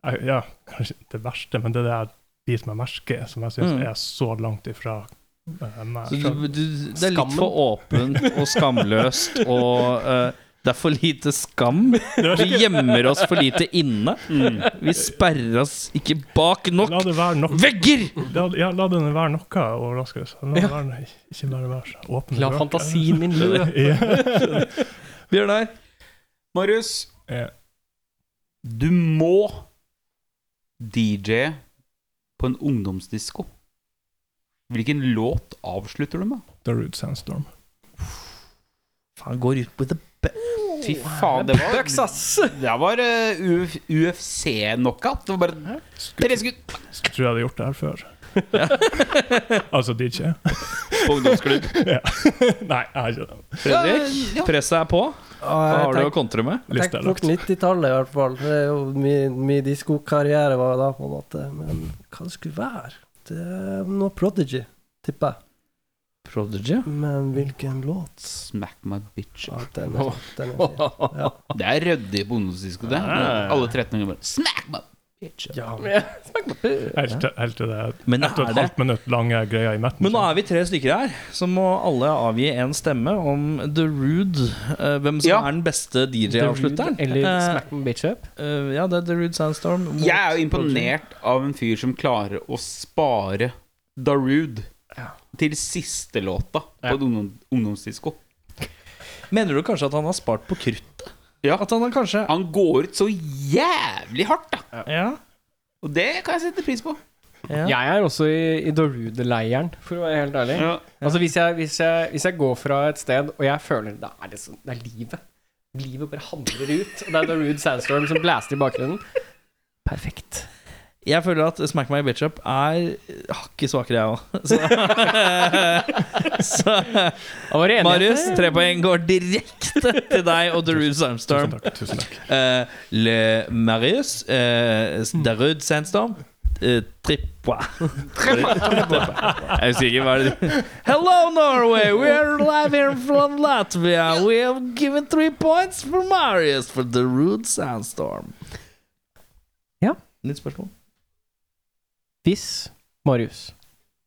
S6: eh, Ja, kanskje ikke det verste, men det der biter meg merke, i, som jeg syns
S2: Mm.
S6: er så langt ifra eh,
S2: Så
S6: meg.
S2: du, du, det er litt
S1: Skammen.
S2: for åpent og skamløst og eh, det er for lite skam.
S6: Det er
S2: Vi
S6: ikke-
S2: gjemmer oss for lite inne.
S3: Mm.
S2: Vi sperrer oss ikke bak nok
S6: La det være nok
S2: vegger!
S6: La, ja, la den være noe overraskelse. La den være, ikke bare være så åpen.
S1: La
S6: dør.
S1: fantasien min løpe.
S6: Ja. Eh,
S2: Bjørnar.
S3: Marius,
S6: Ja.
S3: du må DJ på en ungdomsdisko. Hvilken låt avslutter du med?
S6: The Rude Sandstorm.
S2: Faen, går ut with the be
S3: Fy faen, det var
S1: Bucks, ass!
S3: Det var eh, Uf UFC-knockout. Det var bare tre skudd
S6: Skulle tro jeg hadde gjort det her før. altså DJ.
S3: på ungdomsklubb.
S6: Nei, jeg har ikke det.
S2: Fredrik,
S3: Ja, ja.
S2: presset er på. Hva har du å
S5: Jeg
S2: kontre med?
S6: Lista
S5: tenker
S6: er
S5: fort
S6: lagt.
S5: 90-tallet, i hvert fall. Det er jo Min, min diskokarriere var da, på en måte. Men hva det skulle være? Det er noe Prodigy, tipper jeg.
S2: Prodigy?
S5: Men hvilken låt?
S3: Smack my bitch.
S5: Ja, den er, den er fin. Ja.
S3: Det er ryddig på ungdomsdisko, det. Alle 13-åringer bare Smack my bitch.
S5: Ja, men
S6: Helt til- Helt til det er ett
S2: Men
S6: og
S2: er
S6: et
S2: det
S6: halvt minutt lange greia i midten.
S2: Men nå er vi tre stykker her, så må alle avgi en stemme om The Rude. eh, hvem som
S3: Ja.
S2: er den beste DJ-avslutteren.
S1: Eller
S2: Eh,
S1: Smack my bitch up.
S2: eh, ja, det er The Rude Sandstorm. mot
S3: Jeg er jo imponert av en fyr som klarer å spare Darude til siste låta på et ungdom, ungdomsdisko.
S2: Prodigy. Mener du kanskje at han har spart på kruttet?
S3: Ja.
S2: At han har kanskje
S3: Han går ut så jævlig hardt, da.
S2: Ja.
S3: Og det kan jeg sette pris på.
S2: Ja.
S1: Jeg er også i, i Darude-leiren, for å være helt ærlig.
S3: Ja.
S1: Altså hvis jeg, hvis, jeg, hvis jeg går fra et sted og jeg føler Da er det sånn Det er livet. Livet bare handler ut. Og det er Darude Sandstorm som blaster i bakgrunnen. Perfekt.
S2: Jeg føler at Smack My Bitch Up er hakket svakere, jeg òg. Så, så
S1: Da var det enighet.
S2: Marius, tre poeng går direkte til deg og The Rude
S6: Tusen
S2: Sandstorm.
S6: takk. Tusen takk.
S2: Eh, le Marius, eh, The Rude Sandstorm eh, Trippa. Jeg husker ikke hva det Hello, Norway! We are live here from Latvia. We have given three points for Marius for The Rude Sandstorm.
S1: Ja.
S2: Nytt spørsmål.
S1: Hvis Marius,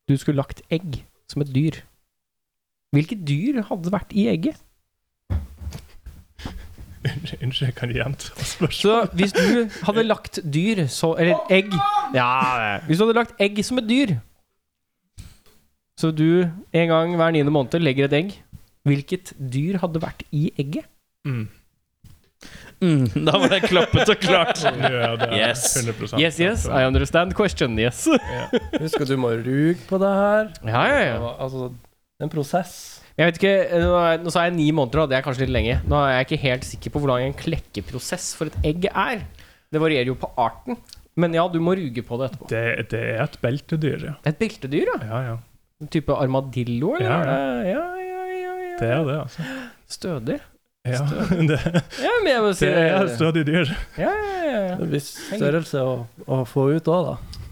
S1: du skulle lagt egg som et dyr, hvilket dyr hadde vært i egget?
S6: Unnskyld, unnskyld, jeg kan ikke gjenta
S1: Så
S6: spørsmålet.
S1: hvis du hadde lagt dyr så Eller egg. Ja, hvis du hadde lagt egg som et dyr Så du en gang hver niende måned legger et egg. Hvilket dyr hadde vært i egget?
S6: Mm.
S2: Mm, da var det klappet og klart.
S6: Nå er det
S2: Yes.
S6: 100
S1: Yes, yes, I understand question, yes.
S5: Husk at du må ruge på det her.
S1: Ja, ja, ja.
S5: Altså, det er en prosess.
S1: Jeg vet ikke, nå er- Nå sa jeg ni måneder, og det er kanskje litt lenge. Nå er jeg ikke helt sikker på hvor lang en klekkeprosess for et egg er. Det varierer jo på arten. Men ja, du må ruge på det etterpå.
S6: Det, det er et beltedyr, ja.
S1: Det er et beltedyr, ja.
S6: ja, ja.
S1: En type armadillo, eller?
S6: Ja,
S1: ja. Ja, ja, ja, ja.
S6: Det er det, altså.
S1: Stødig.
S6: Ja, det,
S1: Ja, men jeg må si
S6: det er et stødig dyr.
S1: Ja, ja, ja.
S5: En viss størrelse å, å få ut òg, da.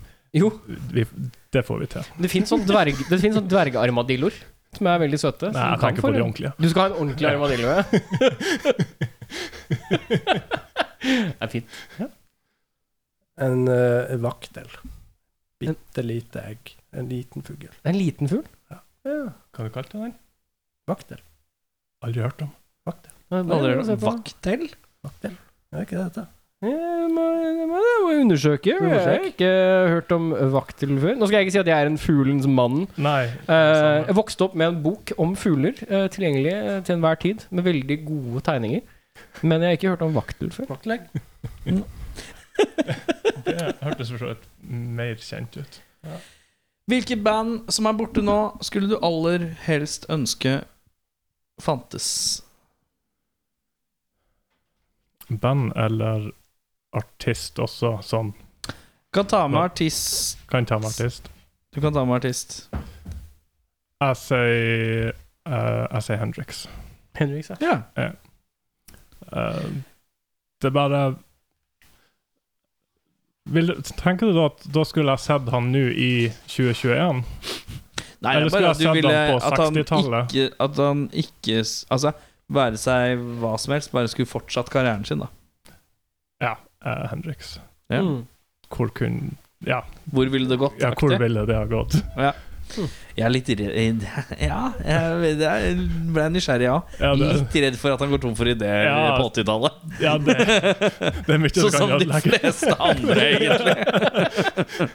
S1: Jo,
S6: Vi, det får vi til.
S1: det fins sånn dverg, det finnes sånn dvergarmadilloer som er veldig søte. som
S6: Nei,
S1: du
S6: jeg
S1: kan
S6: tenker
S1: få-
S6: på de ordentlige.
S1: Du skal ha en ordentlig armadillo, ja. det er fint.
S5: En eh, vaktel. Bitte lite egg. En liten fugl.
S1: Det er en liten fugl.
S6: Hva har du kalt det der?
S5: Vaktel.
S6: Aldri hørt om.
S2: Aldri hørt om
S1: Vaktel?
S5: Er ikke det dette?
S1: Jeg må, jeg må, jeg må undersøke. Jeg har
S5: Undersøk.
S1: ikke hørt om vaktel før. Nå skal jeg ikke si at jeg er en fuglens mann.
S6: Nei.
S1: Eh,
S6: samme.
S1: jeg vokste opp med en bok om fugler, eh, tilgjengelig eh, til enhver tid, med veldig gode tegninger. Men jeg har ikke hørt om vaktel før.
S5: Vaktelegg.
S6: Det hørtes for så vidt mer kjent ut.
S2: Hvilke band som er borte nå, skulle du aller helst ønske fantes?
S6: Band eller artist også, sånn.
S2: Kan ta med artist.
S6: Kan ta med artist.
S2: Du kan ta med artist.
S6: Jeg sier eh, Jeg sier Hendrix.
S1: Henrik sa.
S2: Ja.
S6: Eh, det er bare vil, Tenker du da at da skulle jeg sett han nå i 2021?
S2: Nei, det
S6: Eller
S2: er bare
S6: skulle
S2: at du
S6: jeg sett
S2: ville
S6: han på
S2: at han
S6: 60-tallet?
S2: ikke At han ikke s- Altså, være seg hva som helst, bare skulle fortsatt karrieren sin, da.
S6: Ja, eh, Hendrix.
S2: Ja.
S1: Mm.
S6: Hvor kunne Ja,
S2: Hvor ville det gått?
S6: ja hvor
S2: aktig?
S6: ville det ha gått?
S2: Jeg er litt redd Ja, jeg, jeg ble nysgjerrig, ja.
S6: Ja, det,
S2: Litt redd for at han går tom for ideer
S6: Ja.
S2: på 80-tallet.
S6: ja, det, det er mye du
S2: Sånn
S6: kan
S2: som de
S6: ødelegge.
S2: fleste andre, egentlig.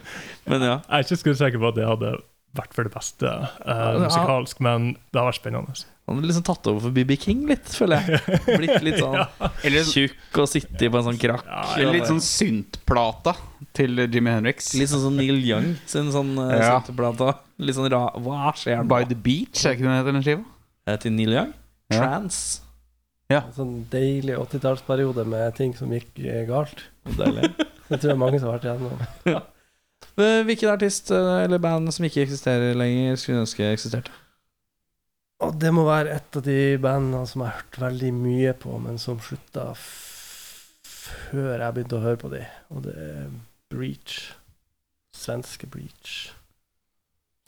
S2: Men ja.
S6: Jeg er ikke skuddsikker på at det hadde vært for det beste eh,
S2: det-
S6: musikalsk, men det har vært spennende.
S2: Han hadde liksom tatt over for BB King litt, føler jeg. Blitt litt sånn
S3: Eller sånn-
S2: tjukk og sittet på en sånn krakk.
S3: eller litt sånn syntplata til Jimmy Henriks.
S2: Litt sånn som Neil Young sin sånn uh,
S3: Ja.
S2: syteplate. Litt sånn ra... Hva skjer
S3: By
S2: nå?
S3: the Beach, er ikke den heter den skiva?
S2: Eh, Til Neil Young?
S3: Ja.
S2: Trans.
S3: Ja.
S5: En sånn deilig 80-tallsperiode med ting som gikk eh, galt. Det tror jeg mange som har vært igjennom.
S2: Eh, Hvilken artist eh, eller band som ikke eksisterer lenger, skulle du ønske eksisterte?
S5: Og det må være et av de bandene som jeg har hørt veldig mye på, men som slutta f før jeg begynte å høre på de, og det er Breach. Svenske Breach.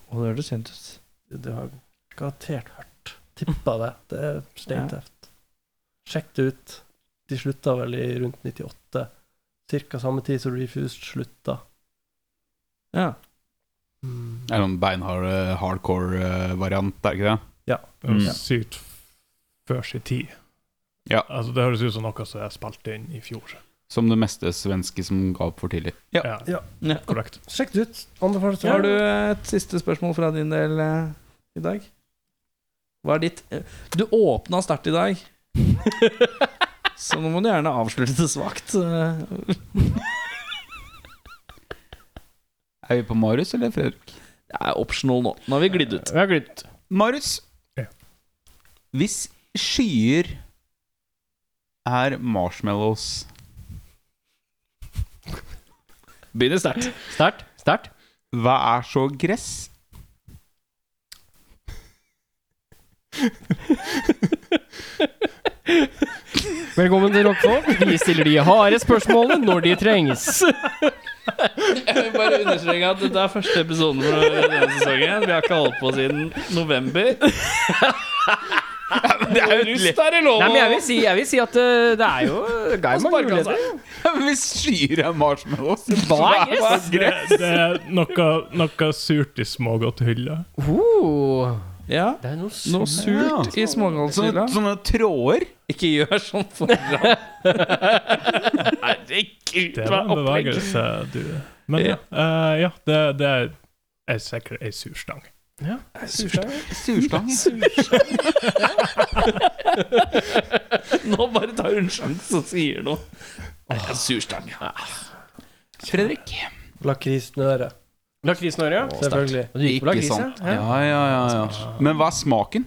S2: Å, det høres kjent ut.
S5: Du har garantert hørt. Tippa det. Det er steintøft. Sjekk det ut. De slutta vel i rundt 98. Cirka samme tid som Refused slutta.
S2: Ja.
S5: Mm.
S3: Det er sånn beinhard eh, hardcore-variant, er det ikke det?
S6: Det
S3: Mm.
S6: er sykt f- før sin tid.
S3: Ja.
S6: Altså, det høres ut som noe som er spilt inn i fjor.
S3: Som det meste svenske som ga opp for tidlig. Ja.
S5: Ja.
S2: Ja.
S6: Korrekt.
S5: Sjekk det ut. Anbefales.
S2: Har du eh, et siste spørsmål fra din del eh, i dag? Hva er ditt eh, Du åpna sterkt i dag, så nå må du gjerne avslutte det svakt. eh.
S3: Er vi på Marius eller Fredrik?
S2: Det er optional nå. Nå har vi glidd ut.
S1: Vi har glidd.
S3: Marius.
S6: Ja.
S3: Hvis skyer er marshmallows
S2: Begynner sterkt.
S1: Sterkt. Sterkt.
S3: Hva er så gress?
S1: Velkommen til Rockfolk. Vi stiller de harde spørsmålene når de trengs.
S2: Jeg vil bare understreke at dette er første episoden for denne sesongen. Vi har ikke holdt på siden november. Det er jo rust her i lov
S1: Nei, men jeg
S2: å
S1: vil si, jeg vil si at eh, det er jo Det er jo mange
S2: sparke
S1: muligheter.
S2: seg.
S3: Hvis skyer er marshmallows
S1: Hva er gress?
S6: Det, det er noe, noe surt i smågodthylla.
S1: Oh,
S2: Ja.
S1: det er noe s-
S2: Noe surt i
S3: Sånne,
S2: smågallshylla.
S3: sånne tråder?
S2: Ikke gjør sånn foran. Herregud, hva
S6: Det
S2: er
S6: var en
S2: opplegget?
S6: bevegelse, du. Men ja, eh, ja det, det er, er sikkert ei surstang.
S3: Surstang.
S2: Nå bare tar hun sjansen og sier noe. Nei, en surstang. Ja.
S3: Fredrik.
S5: Lakrissnøre.
S1: Lakrisnøre, ja.
S5: Selvfølgelig.
S1: Du gikk på lakris, ja.
S3: Ja, ja, ja, ja. Men hva er smaken?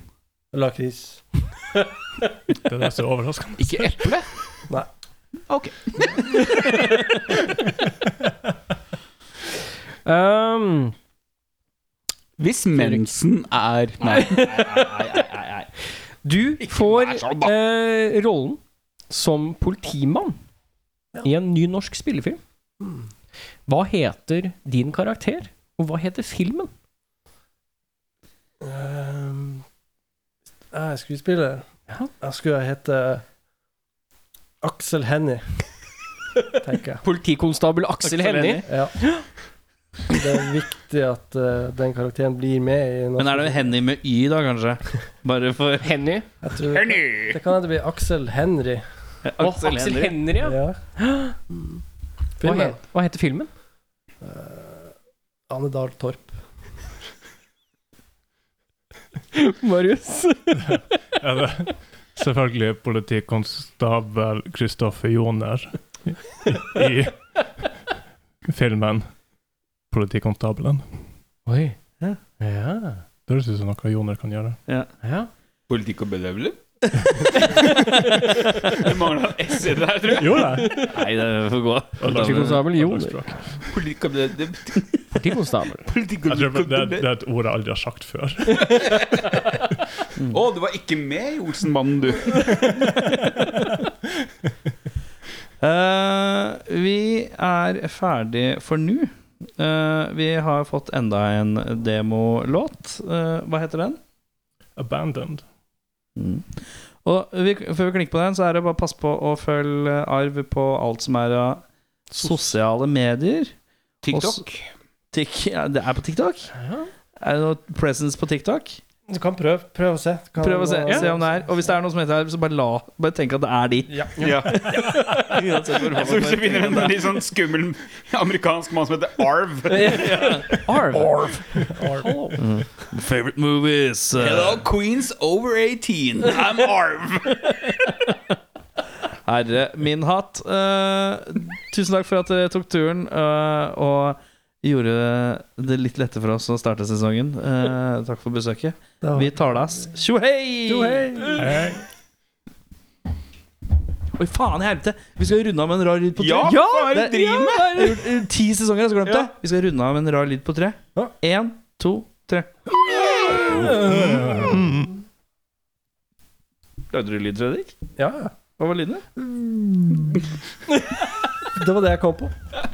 S5: Lakris.
S6: Det er det som er overraskende.
S3: Ikke eple?
S5: Nei.
S3: Ok.
S1: Um,
S3: Hvis mensen er Nei.
S1: du får eh, rollen som politimann i en ny norsk spillefilm. Hva heter din karakter, og hva heter filmen?
S5: Ehm, jeg er skuespiller.
S1: Ja.
S5: Jeg skulle hete Aksel Hennie, tenker jeg.
S1: Politikonstabel Aksel Hennie.
S5: Ja. Det er viktig at eh, den karakteren blir med i
S2: Men er det Henny med Y, da, kanskje? Bare for
S1: Henny.
S5: Jeg tror, det kan hende det blir Aksel Henry.
S1: Å, Aksel, Henry, ja.
S5: Ja.
S1: Hva,
S5: Filmen.
S1: he hva heter filmen?
S5: Eh, Anne Dahl Torp.
S1: Marius.
S6: Er det selvfølgelig politikonstabel Kristoffer Joner i filmen 'Politikonstabelen'.
S1: Oi.
S2: Ja.
S1: Ja.
S6: Det høres ut som noe Joner kan gjøre.
S1: ja.
S3: Politikk og bedøvelig? Det mangla S i det her, tror jeg.
S6: Jo, det.
S2: Nei, det får gå.
S1: Politikonstabel Joner.
S3: Politikk og bedøvelig.
S1: Politikonstabel.
S3: Politikk
S6: Jeg
S3: og
S6: tror det, det,
S3: bedøvelig.
S6: det er et ord jeg aldri har sagt før.
S3: Å, du var ikke med i Olsenbanden, du.
S2: Eh, vi er ferdig for nå. Eh, vi har fått enda en demolåt. Eh, hva heter den?
S6: Abandoned.
S2: Mm. Og vi, før vi klikker på den, så er det bare å passe på å følge Arv på alt som er av sosiale medier. TikTok. Tik, ja, det er på TikTok? Er det noe presence på TikTok?
S5: Du kan prøve. Prøv å se. Kan
S2: Prøv å se,
S5: Ja.
S2: se om det er Og hvis det er noe som heter Arv, så bare, la, bare tenk at det er de.
S3: Ja.
S2: Uansett hvor
S3: Så hvis du finner en litt sånn skummel amerikansk mann som heter Arv
S1: Arv.
S2: Favorite movies eh,
S3: Hello, Queens over 18. I'm Arv.
S2: Herre min hatt. Eh, tusen takk for at dere tok turen eh, og gjorde det litt lettere for oss å starte sesongen. Eh, takk for besøket.
S5: Da-
S2: Vi talas. Tjohei!
S5: Jo, hei!
S6: Hei.
S2: Oi, faen i helvete! Vi skal runde av med en rar lyd på tre.
S3: Ja,
S1: Ja,
S3: hva er det du
S1: det-
S3: driver med?
S2: Jeg har gjort eh, ti sesonger, jeg har glemt
S3: Ja.
S2: det. Vi skal runde av med en rar lyd på tre.
S5: Ja.
S2: Én, to, tre.
S6: Hm.
S2: Lagde du lyd, Fredrik?
S5: Ja, ja.
S2: Hva var lyden?
S5: Det var det jeg kom på.